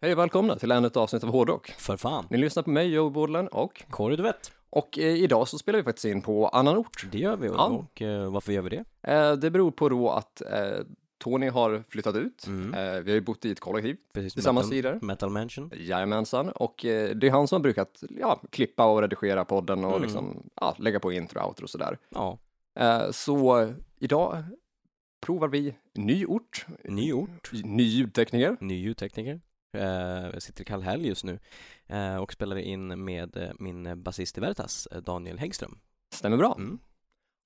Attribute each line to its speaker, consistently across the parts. Speaker 1: Hej och välkomna till ännu ett avsnitt av Hårdrock.
Speaker 2: För fan.
Speaker 1: Ni lyssnar på mig, Joe Bordland och...
Speaker 2: Kåre du vet.
Speaker 1: Och eh, idag så spelar vi faktiskt in på annan ort.
Speaker 2: Det gör vi och,
Speaker 1: Ja.
Speaker 2: och eh, varför gör vi det?
Speaker 1: Eh, det beror på då att eh, Tony har flyttat ut.
Speaker 2: Mm.
Speaker 1: Eh, vi har ju bott i ett kollektiv
Speaker 2: Precis,
Speaker 1: tillsammans
Speaker 2: metal,
Speaker 1: tidigare.
Speaker 2: metal Mansion.
Speaker 1: Jajamensan, och eh, det är han som har brukat ja, klippa och redigera podden och
Speaker 2: Mm.
Speaker 1: liksom, ja, lägga på intro och outro och sådär.
Speaker 2: Ja,
Speaker 1: Eh, så eh, idag provar vi ny ort,
Speaker 2: ny ort,
Speaker 1: ny ljudtekniker.
Speaker 2: ny ljudtekniker. Eh, jag sitter i Kallhäll just nu eh, och spelar in med eh, min basist i Veritas, eh, Daniel Häggström.
Speaker 1: Stämmer bra.
Speaker 2: Mm.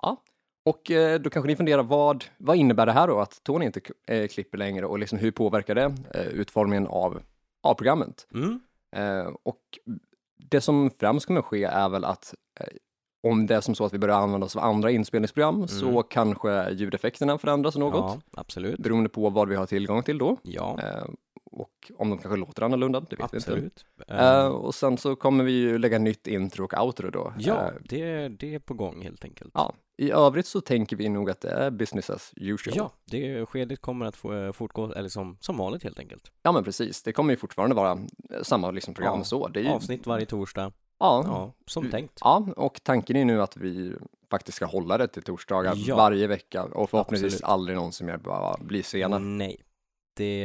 Speaker 1: Ja. Och eh, då kanske ni funderar, vad, vad innebär det här då att Tony inte k- eh, klipper längre och liksom hur påverkar det eh, utformningen av, av programmet?
Speaker 2: Mm.
Speaker 1: Eh, och det som främst kommer ske är väl att eh, om det är som så att vi börjar använda oss av andra inspelningsprogram
Speaker 2: Mm.
Speaker 1: så kanske ljudeffekterna förändras något
Speaker 2: Ja, absolut.
Speaker 1: beroende på vad vi har tillgång till då.
Speaker 2: Ja,
Speaker 1: Eh, och om de kanske låter annorlunda, det vet vi inte.
Speaker 2: absolut. Eh,
Speaker 1: Eh, och sen så kommer vi ju lägga nytt intro och outro då.
Speaker 2: ja,
Speaker 1: Eh,
Speaker 2: det, det är på gång helt enkelt.
Speaker 1: Ja, i övrigt så tänker vi nog att det är business as usual.
Speaker 2: Ja, det skedet kommer att få, eh, fortgå, eller som, som vanligt helt enkelt.
Speaker 1: Ja, men precis. Det kommer ju fortfarande vara eh, samma liksom program
Speaker 2: Ja,
Speaker 1: så. Det är ju,
Speaker 2: Avsnitt varje torsdag.
Speaker 1: ja, ja.
Speaker 2: Ja, som tänkt.
Speaker 1: och tanken är nu att vi faktiskt ska hålla det till torsdagar
Speaker 2: Ja.
Speaker 1: varje vecka och förhoppningsvis
Speaker 2: Absolut. Mm.
Speaker 1: aldrig någonsin mer behöva bli sena.
Speaker 2: Nej, det,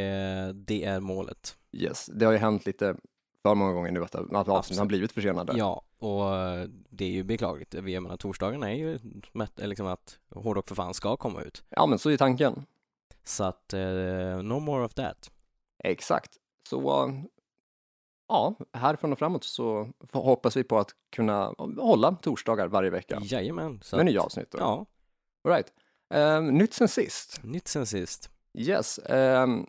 Speaker 2: det är målet.
Speaker 1: Yes, det har ju hänt lite för många gånger nu att, att avsnitt har
Speaker 2: Absolut.
Speaker 1: blivit försenade.
Speaker 2: Ja, och eh, det är ju beklagligt. Vi- Jag menar, torsdagen är ju mätt- eh, liksom att hårdrock för fan ska komma ut.
Speaker 1: ja, men så är tanken.
Speaker 2: Så att, eh, no more of that.
Speaker 1: Exakt. Så eh, ja, härifrån och framåt så hoppas vi på att kunna hålla torsdagar varje vecka
Speaker 2: Jajamän. Så
Speaker 1: med
Speaker 2: att,
Speaker 1: nya avsnitt. Då.
Speaker 2: ja,
Speaker 1: All right. Eh, nytt sen sist.
Speaker 2: nytt sen sist.
Speaker 1: Yes. ehm,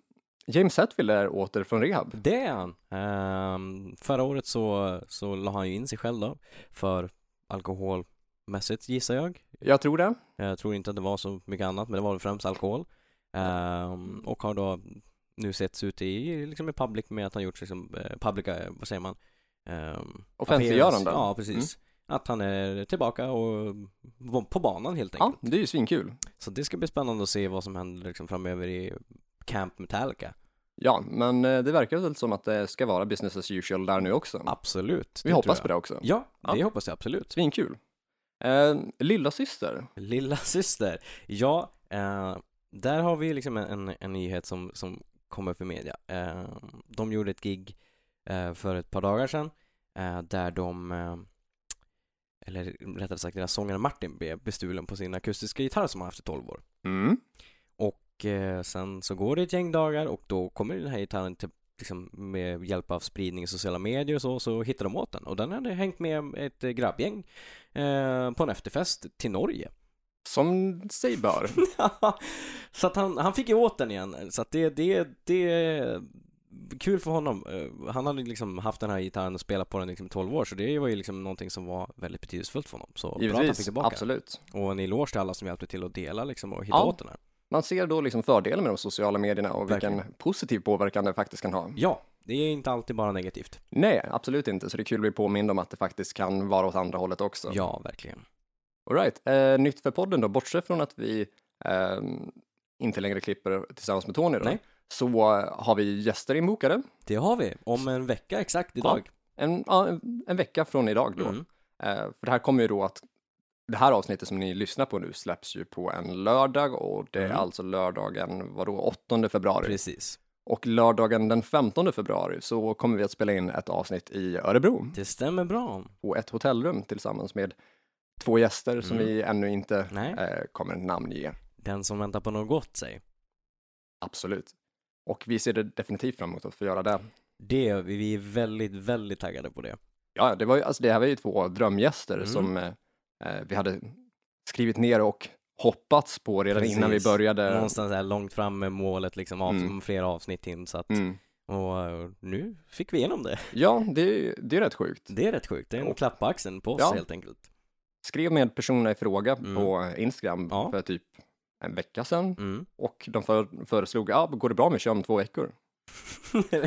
Speaker 1: James Hetfield är åter från rehab.
Speaker 2: Det är han. Ehm, förra året så, så la han ju in sig själv då, för alkoholmässigt gissar jag.
Speaker 1: Jag tror det.
Speaker 2: Jag tror inte att det var så mycket annat, men det var väl främst alkohol. Ehm, och har då nu setts ute i, liksom i public med att han gjort liksom, eh, public, eh, vad säger man? Um,
Speaker 1: Offentliggörande.
Speaker 2: Ja, precis.
Speaker 1: Mm.
Speaker 2: Att han är tillbaka och var på banan helt
Speaker 1: Ja,
Speaker 2: enkelt.
Speaker 1: det är ju svinkul.
Speaker 2: Så det ska bli spännande att se vad som händer liksom framöver i Camp Metallica.
Speaker 1: Ja, men eh, det verkar väl som att det ska vara business as usual där nu också.
Speaker 2: Absolut.
Speaker 1: Vi hoppas på det också.
Speaker 2: Ja, det
Speaker 1: Ja.
Speaker 2: hoppas jag absolut.
Speaker 1: Svinkul. Eh, lilla syster.
Speaker 2: Lilla syster. Ja, eh, där har vi liksom en, en, en nyhet som, som kommer för media. Eh, de gjorde ett gig eh, för ett par dagar sedan eh, där de, eh, eller rättare sagt deras sångare Martin blev bestulen på sin akustiska gitarr som han haft i 12 år.
Speaker 1: Mm.
Speaker 2: Och eh, sen så går det ett gäng dagar och då kommer den här gitarren till Liksom med hjälp av spridning i sociala medier och så, så hittar de åt den. Och den hade hängt med ett eh, grabbgäng eh, på en efterfest till Norge.
Speaker 1: Som sig bör.
Speaker 2: så att han, han fick ju åt den igen. Så att det, det, det är kul för honom. Eh, Han hade liksom haft den här gitarren och spelat på den liksom i 12 år, så det var ju liksom någonting som var väldigt betydelsefullt för honom. Så bra att han fick
Speaker 1: Givetvis,
Speaker 2: tillbaka.
Speaker 1: absolut.
Speaker 2: Och en eloge till alla som hjälpte till att dela liksom och hitta
Speaker 1: Ja.
Speaker 2: åt den här.
Speaker 1: Man ser då liksom fördelen med de sociala medierna och vilken
Speaker 2: Verkligen.
Speaker 1: positiv påverkan det faktiskt kan ha.
Speaker 2: Ja, det är inte alltid bara negativt.
Speaker 1: Nej, absolut inte. Så det är kul att bli påmind om att det faktiskt kan vara åt andra hållet också.
Speaker 2: Ja, verkligen.
Speaker 1: All right. Eh, nytt för podden då, bortsett från att vi ehm, inte längre klipper tillsammans med Tony då,
Speaker 2: Nej.
Speaker 1: så eh, har vi gäster inbokade.
Speaker 2: Det har vi. Om en vecka exakt idag.
Speaker 1: En, ja, en- en vecka från idag då.
Speaker 2: Mm.
Speaker 1: Eh, för det här kommer ju då att det här avsnittet som ni lyssnar på nu släpps ju på en lördag och det är
Speaker 2: Mm.
Speaker 1: alltså lördagen, vadå, 8 februari.
Speaker 2: Precis.
Speaker 1: Och lördagen den 15 februari så kommer vi att spela in ett avsnitt i Örebro
Speaker 2: Det stämmer bra.
Speaker 1: på ett hotellrum tillsammans med två gäster som
Speaker 2: Mm.
Speaker 1: vi ännu inte
Speaker 2: Nej.
Speaker 1: eh, kommer namnge.
Speaker 2: Den som väntar på något gott, säg.
Speaker 1: Absolut. Och vi ser det definitivt fram emot att få göra det.
Speaker 2: Det är vi. Vi är väldigt, väldigt taggade på det.
Speaker 1: Ja, det, var ju, alltså det här var ju två drömgäster
Speaker 2: Mm.
Speaker 1: som eh, eh, vi hade skrivit ner och hoppats på redan innan vi
Speaker 2: Precis.
Speaker 1: började.
Speaker 2: någonstans där långt fram med målet liksom, av,
Speaker 1: Eh. Mm.
Speaker 2: flera avsnitt in så att,
Speaker 1: Mm.
Speaker 2: och eh, nu fick vi igenom det.
Speaker 1: Ja, det, är ju- det är rätt sjukt.
Speaker 2: Det är rätt sjukt, det är en
Speaker 1: Och-
Speaker 2: klapp på axeln på oss
Speaker 1: Ja.
Speaker 2: helt enkelt.
Speaker 1: Skrev med personerna i fråga
Speaker 2: Mm.
Speaker 1: på Instagram
Speaker 2: Ja.
Speaker 1: för typ en vecka sedan
Speaker 2: Mm.
Speaker 1: och de för, föreslog, ja, går det bra med kör om två veckor?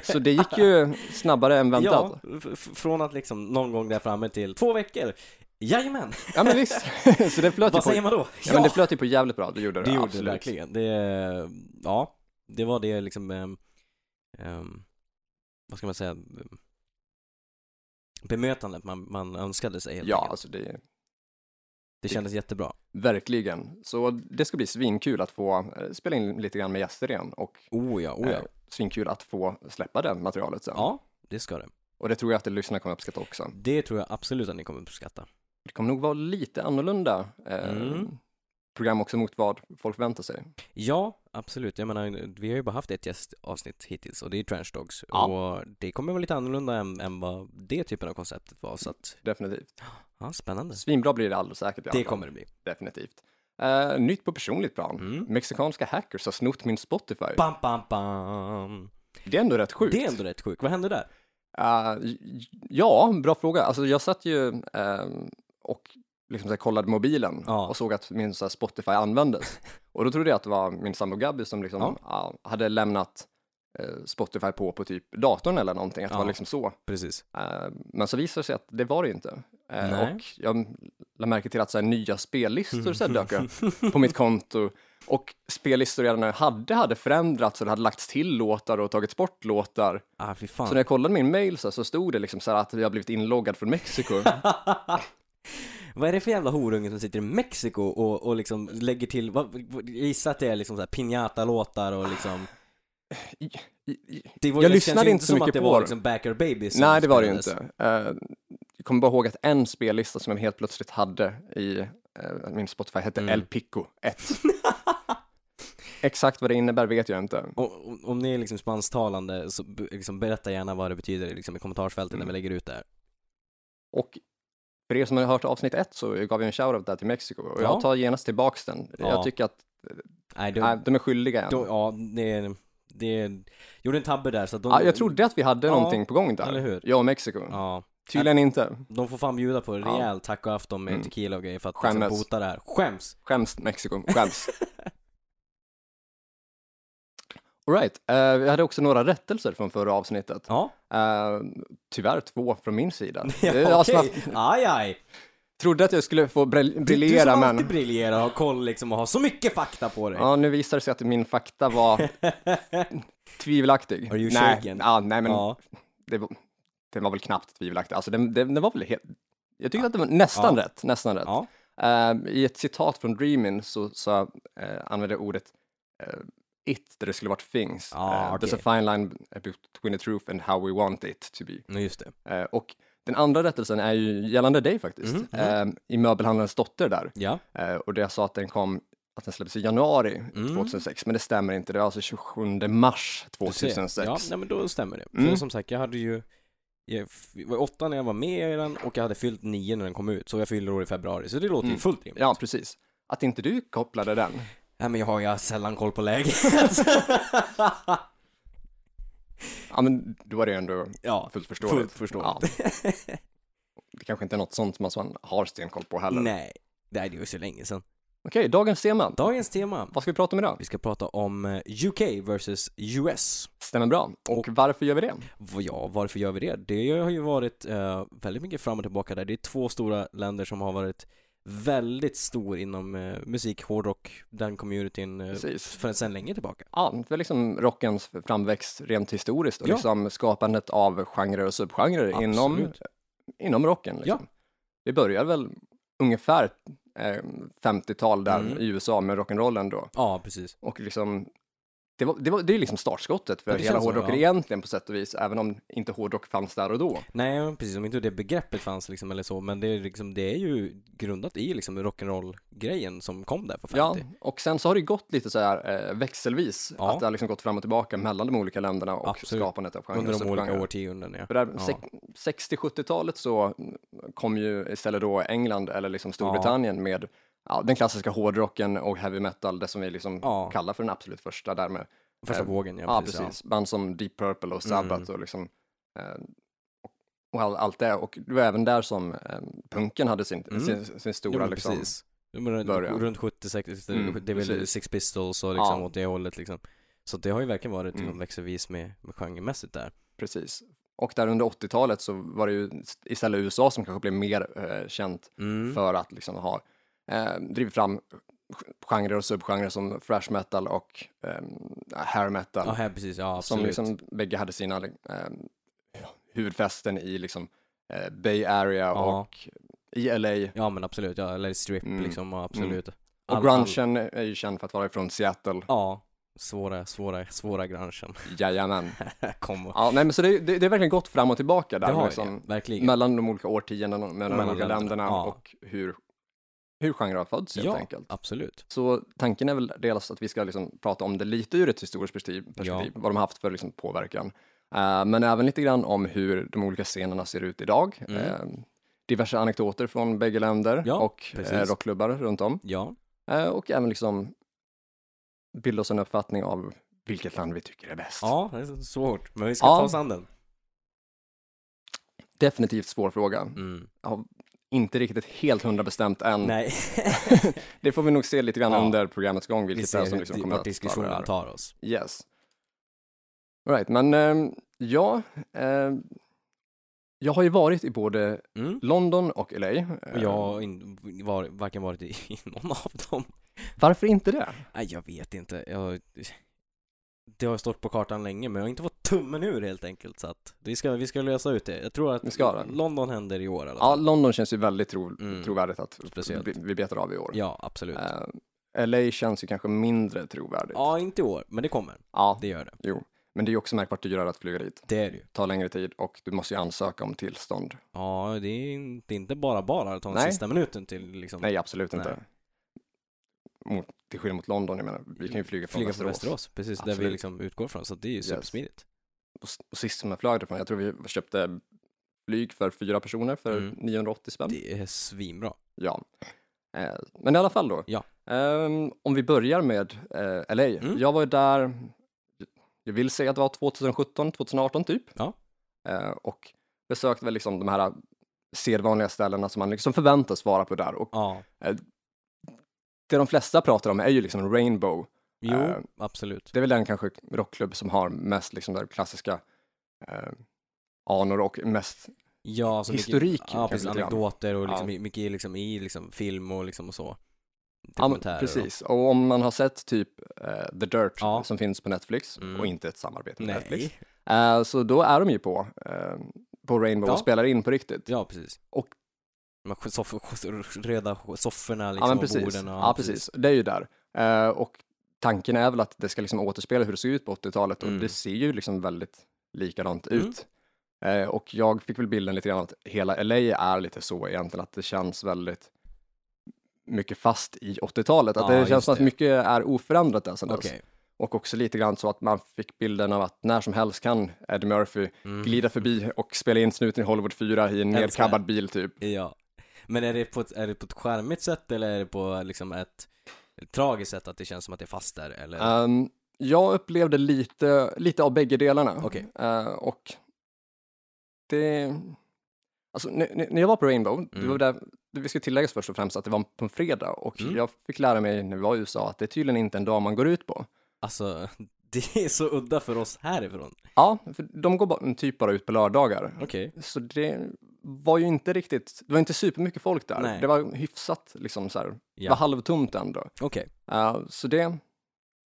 Speaker 1: Så det gick ju snabbare än väntat.
Speaker 2: ja, f- f- från att liksom någon gång där framme till två veckor. Jajamän,
Speaker 1: Ja, men visst. Så det flöt ju
Speaker 2: vad
Speaker 1: på,
Speaker 2: säger
Speaker 1: ja,
Speaker 2: man då?
Speaker 1: men det flöt ju på jävligt bra, det gjorde det,
Speaker 2: det gjorde det
Speaker 1: absolut.
Speaker 2: verkligen. Det, eh, ja, det var det liksom, ehm, ehm, vad ska man säga, bemötandet man, man önskade sig helt
Speaker 1: Ja,
Speaker 2: enkelt.
Speaker 1: alltså det är
Speaker 2: Det kändes jättebra.
Speaker 1: verkligen. Så det ska bli svinkul att få eh, spela in lite grann med gäster igen och
Speaker 2: Oh ja, oh ja.
Speaker 1: eh, svinkul att få släppa det materialet sen.
Speaker 2: Ja, det ska det.
Speaker 1: Och det tror jag att lyssnarna kommer uppskatta också.
Speaker 2: Det tror jag absolut att ni kommer uppskatta.
Speaker 1: Det kommer nog vara lite annorlunda eh,
Speaker 2: Mm.
Speaker 1: program också mot vad folk förväntar sig.
Speaker 2: Ja, absolut. Jag menar, vi har ju bara haft ett gästavsnitt hittills och det är ju Trench Dogs.
Speaker 1: Ja.
Speaker 2: Och det kommer vara lite annorlunda än, än vad det typen av konceptet var. Så att,
Speaker 1: Definitivt.
Speaker 2: ja, spännande.
Speaker 1: Svinbra blir det alldeles säkert. i alla
Speaker 2: Det
Speaker 1: fall.
Speaker 2: kommer det bli.
Speaker 1: Definitivt. Eh, nytt på personligt plan.
Speaker 2: Mm.
Speaker 1: Mexikanska hackers har snott min Spotify.
Speaker 2: Bam, bam, bam.
Speaker 1: Det är ändå rätt sjukt.
Speaker 2: Det är ändå rätt sjukt. Vad hände där?
Speaker 1: Eh, j- j- ja, bra fråga. Alltså jag satt ju ehm, och liksom så här, kollade mobilen
Speaker 2: Ja.
Speaker 1: och såg att min så här, Spotify användes. och då trodde jag att det var min sambo Gabby som liksom,
Speaker 2: Ja.
Speaker 1: ja, hade lämnat eh, Spotify på på typ datorn eller någonting, att det
Speaker 2: Ja.
Speaker 1: var liksom så.
Speaker 2: Precis.
Speaker 1: Eh, Men så visade det sig att det var det ju inte. Eh,
Speaker 2: Nej.
Speaker 1: Och jag lade märke till att så här, nya spellistor så här, dök upp på mitt konto. Och spellistor jag redan hade hade förändrats och det hade lagts till låtar och tagits bort låtar.
Speaker 2: Ah, fy
Speaker 1: Så när
Speaker 2: fan.
Speaker 1: jag kollade min mail så, här, så stod det liksom så här att jag blivit inloggad från Mexiko.
Speaker 2: Vad är det för jävla horunge som sitter i Mexiko och, och liksom lägger till, vad, vad- gissa att det är liksom såhär piñata-låtar och liksom
Speaker 1: I- i- i-
Speaker 2: det var,
Speaker 1: Ah. Jag
Speaker 2: det
Speaker 1: lyssnade
Speaker 2: känns ju
Speaker 1: inte så
Speaker 2: som att
Speaker 1: mycket
Speaker 2: det
Speaker 1: på
Speaker 2: var
Speaker 1: det.
Speaker 2: liksom Backer Babies som
Speaker 1: Nej, det var det ju
Speaker 2: spelades.
Speaker 1: inte. Eh, Jag kommer bara ihåg att en spellista som jag helt plötsligt hade i eh, min Spotify hette
Speaker 2: Mm.
Speaker 1: El Pico 1. Exakt vad det innebär vet jag inte.
Speaker 2: Och, om- om ni är liksom spansktalande så b- liksom berätta gärna vad det betyder liksom i kommentarsfältet när
Speaker 1: Mm.
Speaker 2: vi lägger ut det här.
Speaker 1: Och för er som har hört avsnitt ett så gav jag en shoutout där till Mexiko och
Speaker 2: Ja.
Speaker 1: jag tar genast tillbaks den.
Speaker 2: Ja.
Speaker 1: Jag tycker att
Speaker 2: Nej, de,
Speaker 1: nej, de är skyldiga än.
Speaker 2: de, ja, det, det, gjorde en tabbe där så att de,
Speaker 1: ja, jag trodde att vi hade
Speaker 2: Ja,
Speaker 1: någonting på gång där.
Speaker 2: eller hur?
Speaker 1: Jag och Mexiko.
Speaker 2: Ja,
Speaker 1: Tydligen inte.
Speaker 2: de får fan bjuda på en
Speaker 1: Ja.
Speaker 2: rejäl tacoafton med
Speaker 1: Mm.
Speaker 2: tequila och grejer för att liksom
Speaker 1: Skämmes.
Speaker 2: bota det här. Skäms!
Speaker 1: Skäms Mexiko, skäms. Alright, uh, vi hade också några rättelser från förra avsnittet.
Speaker 2: Ja,
Speaker 1: Eh, tyvärr två från min sida.
Speaker 2: ja
Speaker 1: Det är jag som
Speaker 2: okej.
Speaker 1: haft-
Speaker 2: Aj, aj.
Speaker 1: trodde att jag skulle få brill-
Speaker 2: Du, du som
Speaker 1: briljera
Speaker 2: alltid
Speaker 1: men
Speaker 2: briljerar och har koll liksom och har så mycket fakta på dig.
Speaker 1: ja, nu visar det sig att min fakta var tvivelaktig.
Speaker 2: Are you
Speaker 1: nej,
Speaker 2: shaken?
Speaker 1: Ja, nej, men
Speaker 2: ja.
Speaker 1: det var, den var väl knappt tvivelaktig. Alltså den, den, den var väl helt, jag tyckte att det var nästan rätt, nästan rätt.
Speaker 2: ja.
Speaker 1: Eh, I ett citat från Dreamin så, så eh, använde jag ordet eh, it där det skulle varit things.
Speaker 2: Ah,
Speaker 1: Eh,
Speaker 2: okej.
Speaker 1: There's a fine line between the truth and how we want it to be.
Speaker 2: Nej, just det.
Speaker 1: Eh, och den andra rättelsen är ju gällande dig faktiskt,
Speaker 2: Mhm,
Speaker 1: Eh, i Möbelhandlarens dotter där.
Speaker 2: Ja.
Speaker 1: Eh, och det jag sa att den kom, att den släpptes i januari
Speaker 2: Mm.
Speaker 1: 2006, men det stämmer inte, det var alltså 27 mars
Speaker 2: Du ser.
Speaker 1: 2006.
Speaker 2: Ja, nej, men då stämmer det. För
Speaker 1: Mm.
Speaker 2: som sagt, jag hade ju jag f- var åtta när jag var med i den och jag hade fyllt nio när den kom ut, så jag fyller år i februari, så det låter ju
Speaker 1: Mm.
Speaker 2: fullt rimligt.
Speaker 1: Ja, precis. Att inte du kopplade den.
Speaker 2: Nej men jag har, jag har sällan koll på läget.
Speaker 1: Ja, men då är det ju ändå
Speaker 2: ja,
Speaker 1: fullt förståeligt.
Speaker 2: fullt förståeligt.
Speaker 1: Ja. Det kanske inte är något sånt som man har stenkoll på heller.
Speaker 2: Nej, det är ju så länge sedan.
Speaker 1: Okej, dagens tema.
Speaker 2: Dagens tema.
Speaker 1: Vad ska vi prata om idag?
Speaker 2: Vi ska prata om eh, UK versus US.
Speaker 1: Stämmer bra. Och, Eh, varför gör vi det?
Speaker 2: V- Ja, varför gör vi det? Det har ju varit eh, väldigt mycket fram och tillbaka där. Det är två stora länder som har varit väldigt stor inom eh, musik, hårdrock, den communityn eh,
Speaker 1: Precis.
Speaker 2: för sedan länge tillbaka.
Speaker 1: Ja, det var liksom rockens framväxt rent historiskt och
Speaker 2: Ja.
Speaker 1: liksom skapandet av genrer och subgenrer inom,
Speaker 2: Absolut.
Speaker 1: inom rocken. Liksom.
Speaker 2: Ja.
Speaker 1: Det började väl ungefär eh, 50-tal där
Speaker 2: Mm.
Speaker 1: i USA med rock'n'rollen då.
Speaker 2: Ja, precis.
Speaker 1: Och liksom, det, var, det, var, det är liksom startskottet för
Speaker 2: Ja, det
Speaker 1: hela
Speaker 2: känns så,
Speaker 1: hårdrocken
Speaker 2: ja.
Speaker 1: egentligen på sätt och vis, även om inte hårdrock fanns där och då.
Speaker 2: Nej, precis. Om inte det begreppet fanns liksom eller så, men det är, liksom, det är ju grundat i liksom rock'n'roll-grejen som kom där på 50.
Speaker 1: Ja, och sen så har det gått lite så här eh, växelvis,
Speaker 2: Ja.
Speaker 1: att det har liksom gått fram och tillbaka mellan de olika länderna och
Speaker 2: Absolut.
Speaker 1: skapandet av genrer.
Speaker 2: Under
Speaker 1: och
Speaker 2: de olika
Speaker 1: subgenrer.
Speaker 2: årtiondena,
Speaker 1: För
Speaker 2: ja.
Speaker 1: där,
Speaker 2: Ja.
Speaker 1: sek- 60-70-talet så kom ju istället då England eller liksom Storbritannien med ja, den klassiska hårdrocken och heavy metal, det som vi liksom
Speaker 2: Ja.
Speaker 1: kallar för den absolut första där med.
Speaker 2: Första
Speaker 1: eh,
Speaker 2: vågen, ja, Mm.
Speaker 1: Ja,
Speaker 2: precis.
Speaker 1: precis. Band som Deep Purple och Sabbath och liksom eh, och all, allt det. Och det var även där som eh, punken hade sin,
Speaker 2: Mm.
Speaker 1: sin, sin
Speaker 2: Ja.
Speaker 1: stora
Speaker 2: Jo, men
Speaker 1: liksom.
Speaker 2: precis. Ja, men runt-
Speaker 1: början.
Speaker 2: Runt 70, 60,
Speaker 1: Mm,
Speaker 2: det är väl
Speaker 1: precis.
Speaker 2: Six Pistols och liksom
Speaker 1: Ja.
Speaker 2: åt det hållet liksom. Så det har ju verkligen varit liksom,
Speaker 1: Mm.
Speaker 2: växelvis med, med genremässigt där.
Speaker 1: Precis. Och där under 80-talet så var det ju istället USA som kanske blev mer eh, känt
Speaker 2: Mm.
Speaker 1: för att liksom ha eh, drivit fram genrer och subgenrer som thrash metal och eh, hair metal.
Speaker 2: Ja, här, precis. Ja,
Speaker 1: som
Speaker 2: absolut.
Speaker 1: liksom bägge hade sina eh, huvudfesten i liksom eh, Bay Area
Speaker 2: Ja.
Speaker 1: och i LA.
Speaker 2: Ja men absolut, ja, eller strip
Speaker 1: Mm.
Speaker 2: liksom, ja, absolut.
Speaker 1: Och
Speaker 2: All-
Speaker 1: grungen är ju känd för att vara från Seattle.
Speaker 2: Ja, svåra, svåra, svåra grunchen.
Speaker 1: Jajamän.
Speaker 2: Kom och...
Speaker 1: Ja, nej men så det, det, det är verkligen gått fram och tillbaka
Speaker 2: Det
Speaker 1: där
Speaker 2: har
Speaker 1: liksom.
Speaker 2: liksom, verkligen.
Speaker 1: Mellan de olika årtiondena, mellan de
Speaker 2: Mellan
Speaker 1: olika
Speaker 2: länderna,
Speaker 1: länderna
Speaker 2: ja.
Speaker 1: och hur, hur genrer har fötts helt
Speaker 2: Ja.
Speaker 1: enkelt.
Speaker 2: Absolut.
Speaker 1: Så tanken är väl dels att vi ska liksom prata om det lite ur ett historiskt perspektiv, perspektiv vad de har haft för liksom påverkan. Eh, men även lite grann om hur de olika scenerna ser ut idag.
Speaker 2: Mm.
Speaker 1: Eh, diverse anekdoter från bägge länder
Speaker 2: Ja,
Speaker 1: och
Speaker 2: precis.
Speaker 1: eh, rockklubbar runt om.
Speaker 2: Ja,
Speaker 1: Eh, och även liksom bilda oss en uppfattning av vilket land vi tycker är bäst.
Speaker 2: ja det är så svårt. Men vi ska
Speaker 1: Ja.
Speaker 2: ta oss an den.
Speaker 1: Definitivt svår fråga.
Speaker 2: Mm.
Speaker 1: Inte riktigt helt hundra bestämt än.
Speaker 2: Nej,
Speaker 1: Det får vi nog se lite grann
Speaker 2: Ja.
Speaker 1: under programmets gång,
Speaker 2: vi
Speaker 1: vilket det är
Speaker 2: ser
Speaker 1: som
Speaker 2: hur
Speaker 1: liksom
Speaker 2: di-
Speaker 1: kommer
Speaker 2: vart
Speaker 1: att ta det
Speaker 2: diskussionen
Speaker 1: här.
Speaker 2: tar oss.
Speaker 1: Yes. All right, men ehm, ja, ehm, jag har ju varit i både
Speaker 2: Mm.
Speaker 1: London och LA.
Speaker 2: Och
Speaker 1: Ehm,
Speaker 2: jag har in, var, varken varit i, i någon av dem.
Speaker 1: Varför inte det?
Speaker 2: Nej, jag vet inte. Jag, det har stått på kartan länge, men jag har inte fått tummen ur helt enkelt. Så att vi ska, vi ska lösa ut det. Jag tror
Speaker 1: Vi
Speaker 2: att
Speaker 1: ska ha den.
Speaker 2: London händer i år i alla
Speaker 1: Ja,
Speaker 2: fall.
Speaker 1: London känns ju väldigt tro,
Speaker 2: Alltså- Mm.
Speaker 1: trovärdigt att
Speaker 2: Speciellt.
Speaker 1: vi, vi betar av i år.
Speaker 2: Ja, absolut.
Speaker 1: Ehm, LA känns ju kanske mindre trovärdigt.
Speaker 2: Ja, inte i år, men det kommer.
Speaker 1: Ja,
Speaker 2: Det gör det.
Speaker 1: men det är ju också märkbart dyrare att flyga dit.
Speaker 2: Det är det ju.
Speaker 1: tar längre tid och du måste ju ansöka om tillstånd.
Speaker 2: Ja, det är inte, det är inte bara bara att ta den
Speaker 1: Nej.
Speaker 2: sista minuten till liksom
Speaker 1: Nej, absolut
Speaker 2: Nej.
Speaker 1: inte. Mot, till skillnad mot London, jag menar, vi kan ju flyga från
Speaker 2: flyga från
Speaker 1: Västerås.
Speaker 2: Västerås. Precis, där
Speaker 1: Absolut.
Speaker 2: vi liksom utgår från. Så det är ju supersmidigt.
Speaker 1: Och, s- och sist som jag flög därifrån, jag tror vi köpte flyg för fyra personer för
Speaker 2: Mm.
Speaker 1: 980 spänn.
Speaker 2: Det är svinbra.
Speaker 1: Ja. Eh, men i alla fall då.
Speaker 2: Ja.
Speaker 1: Ehm, om vi börjar med eh, LA.
Speaker 2: Mm.
Speaker 1: Jag var ju där, jag vill säga att det var 2017, 2018 typ.
Speaker 2: Ja.
Speaker 1: Eh, och besökte väl liksom de här sedvanliga ställena som man liksom förväntas vara på där. Och
Speaker 2: Ja,
Speaker 1: det de flesta pratar om är ju liksom Rainbow.
Speaker 2: jo,
Speaker 1: Eh,
Speaker 2: absolut.
Speaker 1: Det är väl den kanske rockklubb som har mest liksom där klassiska eh, anor och mest,
Speaker 2: Ja, så
Speaker 1: historik
Speaker 2: mycket, ja,
Speaker 1: kanske
Speaker 2: precis,
Speaker 1: lite grann.
Speaker 2: anekdoter och
Speaker 1: Ja.
Speaker 2: liksom, i- mycket i liksom, i liksom film och liksom och så.
Speaker 1: Ja, men
Speaker 2: Dokumentärer och-
Speaker 1: precis. Och om man har sett typ eh, The Dirt
Speaker 2: Ja.
Speaker 1: som finns på Netflix
Speaker 2: Mm.
Speaker 1: och inte ett samarbete med Netflix,
Speaker 2: Nej.
Speaker 1: eh, så då är de ju på, eh, på Rainbow
Speaker 2: Ja.
Speaker 1: och spelar in på riktigt.
Speaker 2: Ja, precis.
Speaker 1: Och-
Speaker 2: de här soff- röda sofforna liksom,
Speaker 1: ja, men
Speaker 2: och
Speaker 1: precis.
Speaker 2: borden.
Speaker 1: ja, precis. Det är ju där. Eh, och tanken är väl att det ska liksom återspela hur det såg ut på 80-talet och
Speaker 2: Mm.
Speaker 1: det ser ju liksom väldigt likadant
Speaker 2: Mm.
Speaker 1: ut. Eh, och jag fick väl bilden lite grann att hela LA är lite så egentligen, att det känns väldigt mycket fast i 80-talet. Att
Speaker 2: Ja,
Speaker 1: det känns
Speaker 2: just
Speaker 1: som att
Speaker 2: det.
Speaker 1: mycket är oförändrat där sedan dess.
Speaker 2: Okej.
Speaker 1: Och också lite grann så att man fick bilden av att när som helst kan Eddie Murphy
Speaker 2: Mm.
Speaker 1: glida förbi och spela in snuten i Hollywood 4 i en
Speaker 2: Älskar.
Speaker 1: nedkabbad bil typ.
Speaker 2: Ja. Men är det, på ett, är det på ett charmigt sätt eller är det på liksom ett, ett tragiskt sätt att det känns som att det är fast där eller?
Speaker 1: Ehm, jag upplevde lite, lite av bägge delarna.
Speaker 2: Okej.
Speaker 1: Eh, och det... Alltså, n- n- när jag var på Rainbow, det
Speaker 2: Mm.
Speaker 1: var där, vi ska tillägga först och främst att det var på en fredag och
Speaker 2: Mm.
Speaker 1: jag fick lära mig när vi var i USA att det är tydligen inte en dag man går ut på.
Speaker 2: Alltså, det är så udda för oss härifrån.
Speaker 1: Ja, för de går bara, typ bara ut på lördagar.
Speaker 2: Okej.
Speaker 1: Så det var ju inte riktigt, det var inte supermycket folk där.
Speaker 2: Nej.
Speaker 1: Det var hyfsat liksom så här, det
Speaker 2: Ja.
Speaker 1: var halvtomt ändå.
Speaker 2: Okej,
Speaker 1: Eh, så det,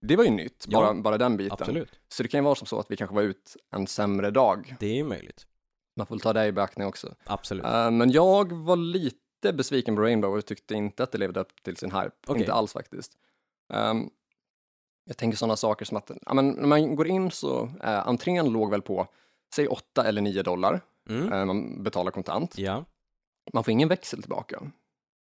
Speaker 1: det var ju nytt,
Speaker 2: Ja.
Speaker 1: bara, bara den biten.
Speaker 2: absolut.
Speaker 1: Så det kan ju vara som så att vi kanske var ut en sämre dag.
Speaker 2: Det är ju möjligt.
Speaker 1: Man får väl ta det i beaktning också.
Speaker 2: Absolut.
Speaker 1: Eh, men jag var lite besviken på Rainbow och tyckte inte att det levde upp till sin hype.
Speaker 2: Okej.
Speaker 1: Inte alls faktiskt. Ehm, jag tänker sådana saker som att ja, men, när man går in så, uh, entrén låg väl på säg 8 eller 9 dollar.
Speaker 2: Mm.
Speaker 1: Eh, man betalar kontant.
Speaker 2: Ja.
Speaker 1: Man får ingen växel tillbaka,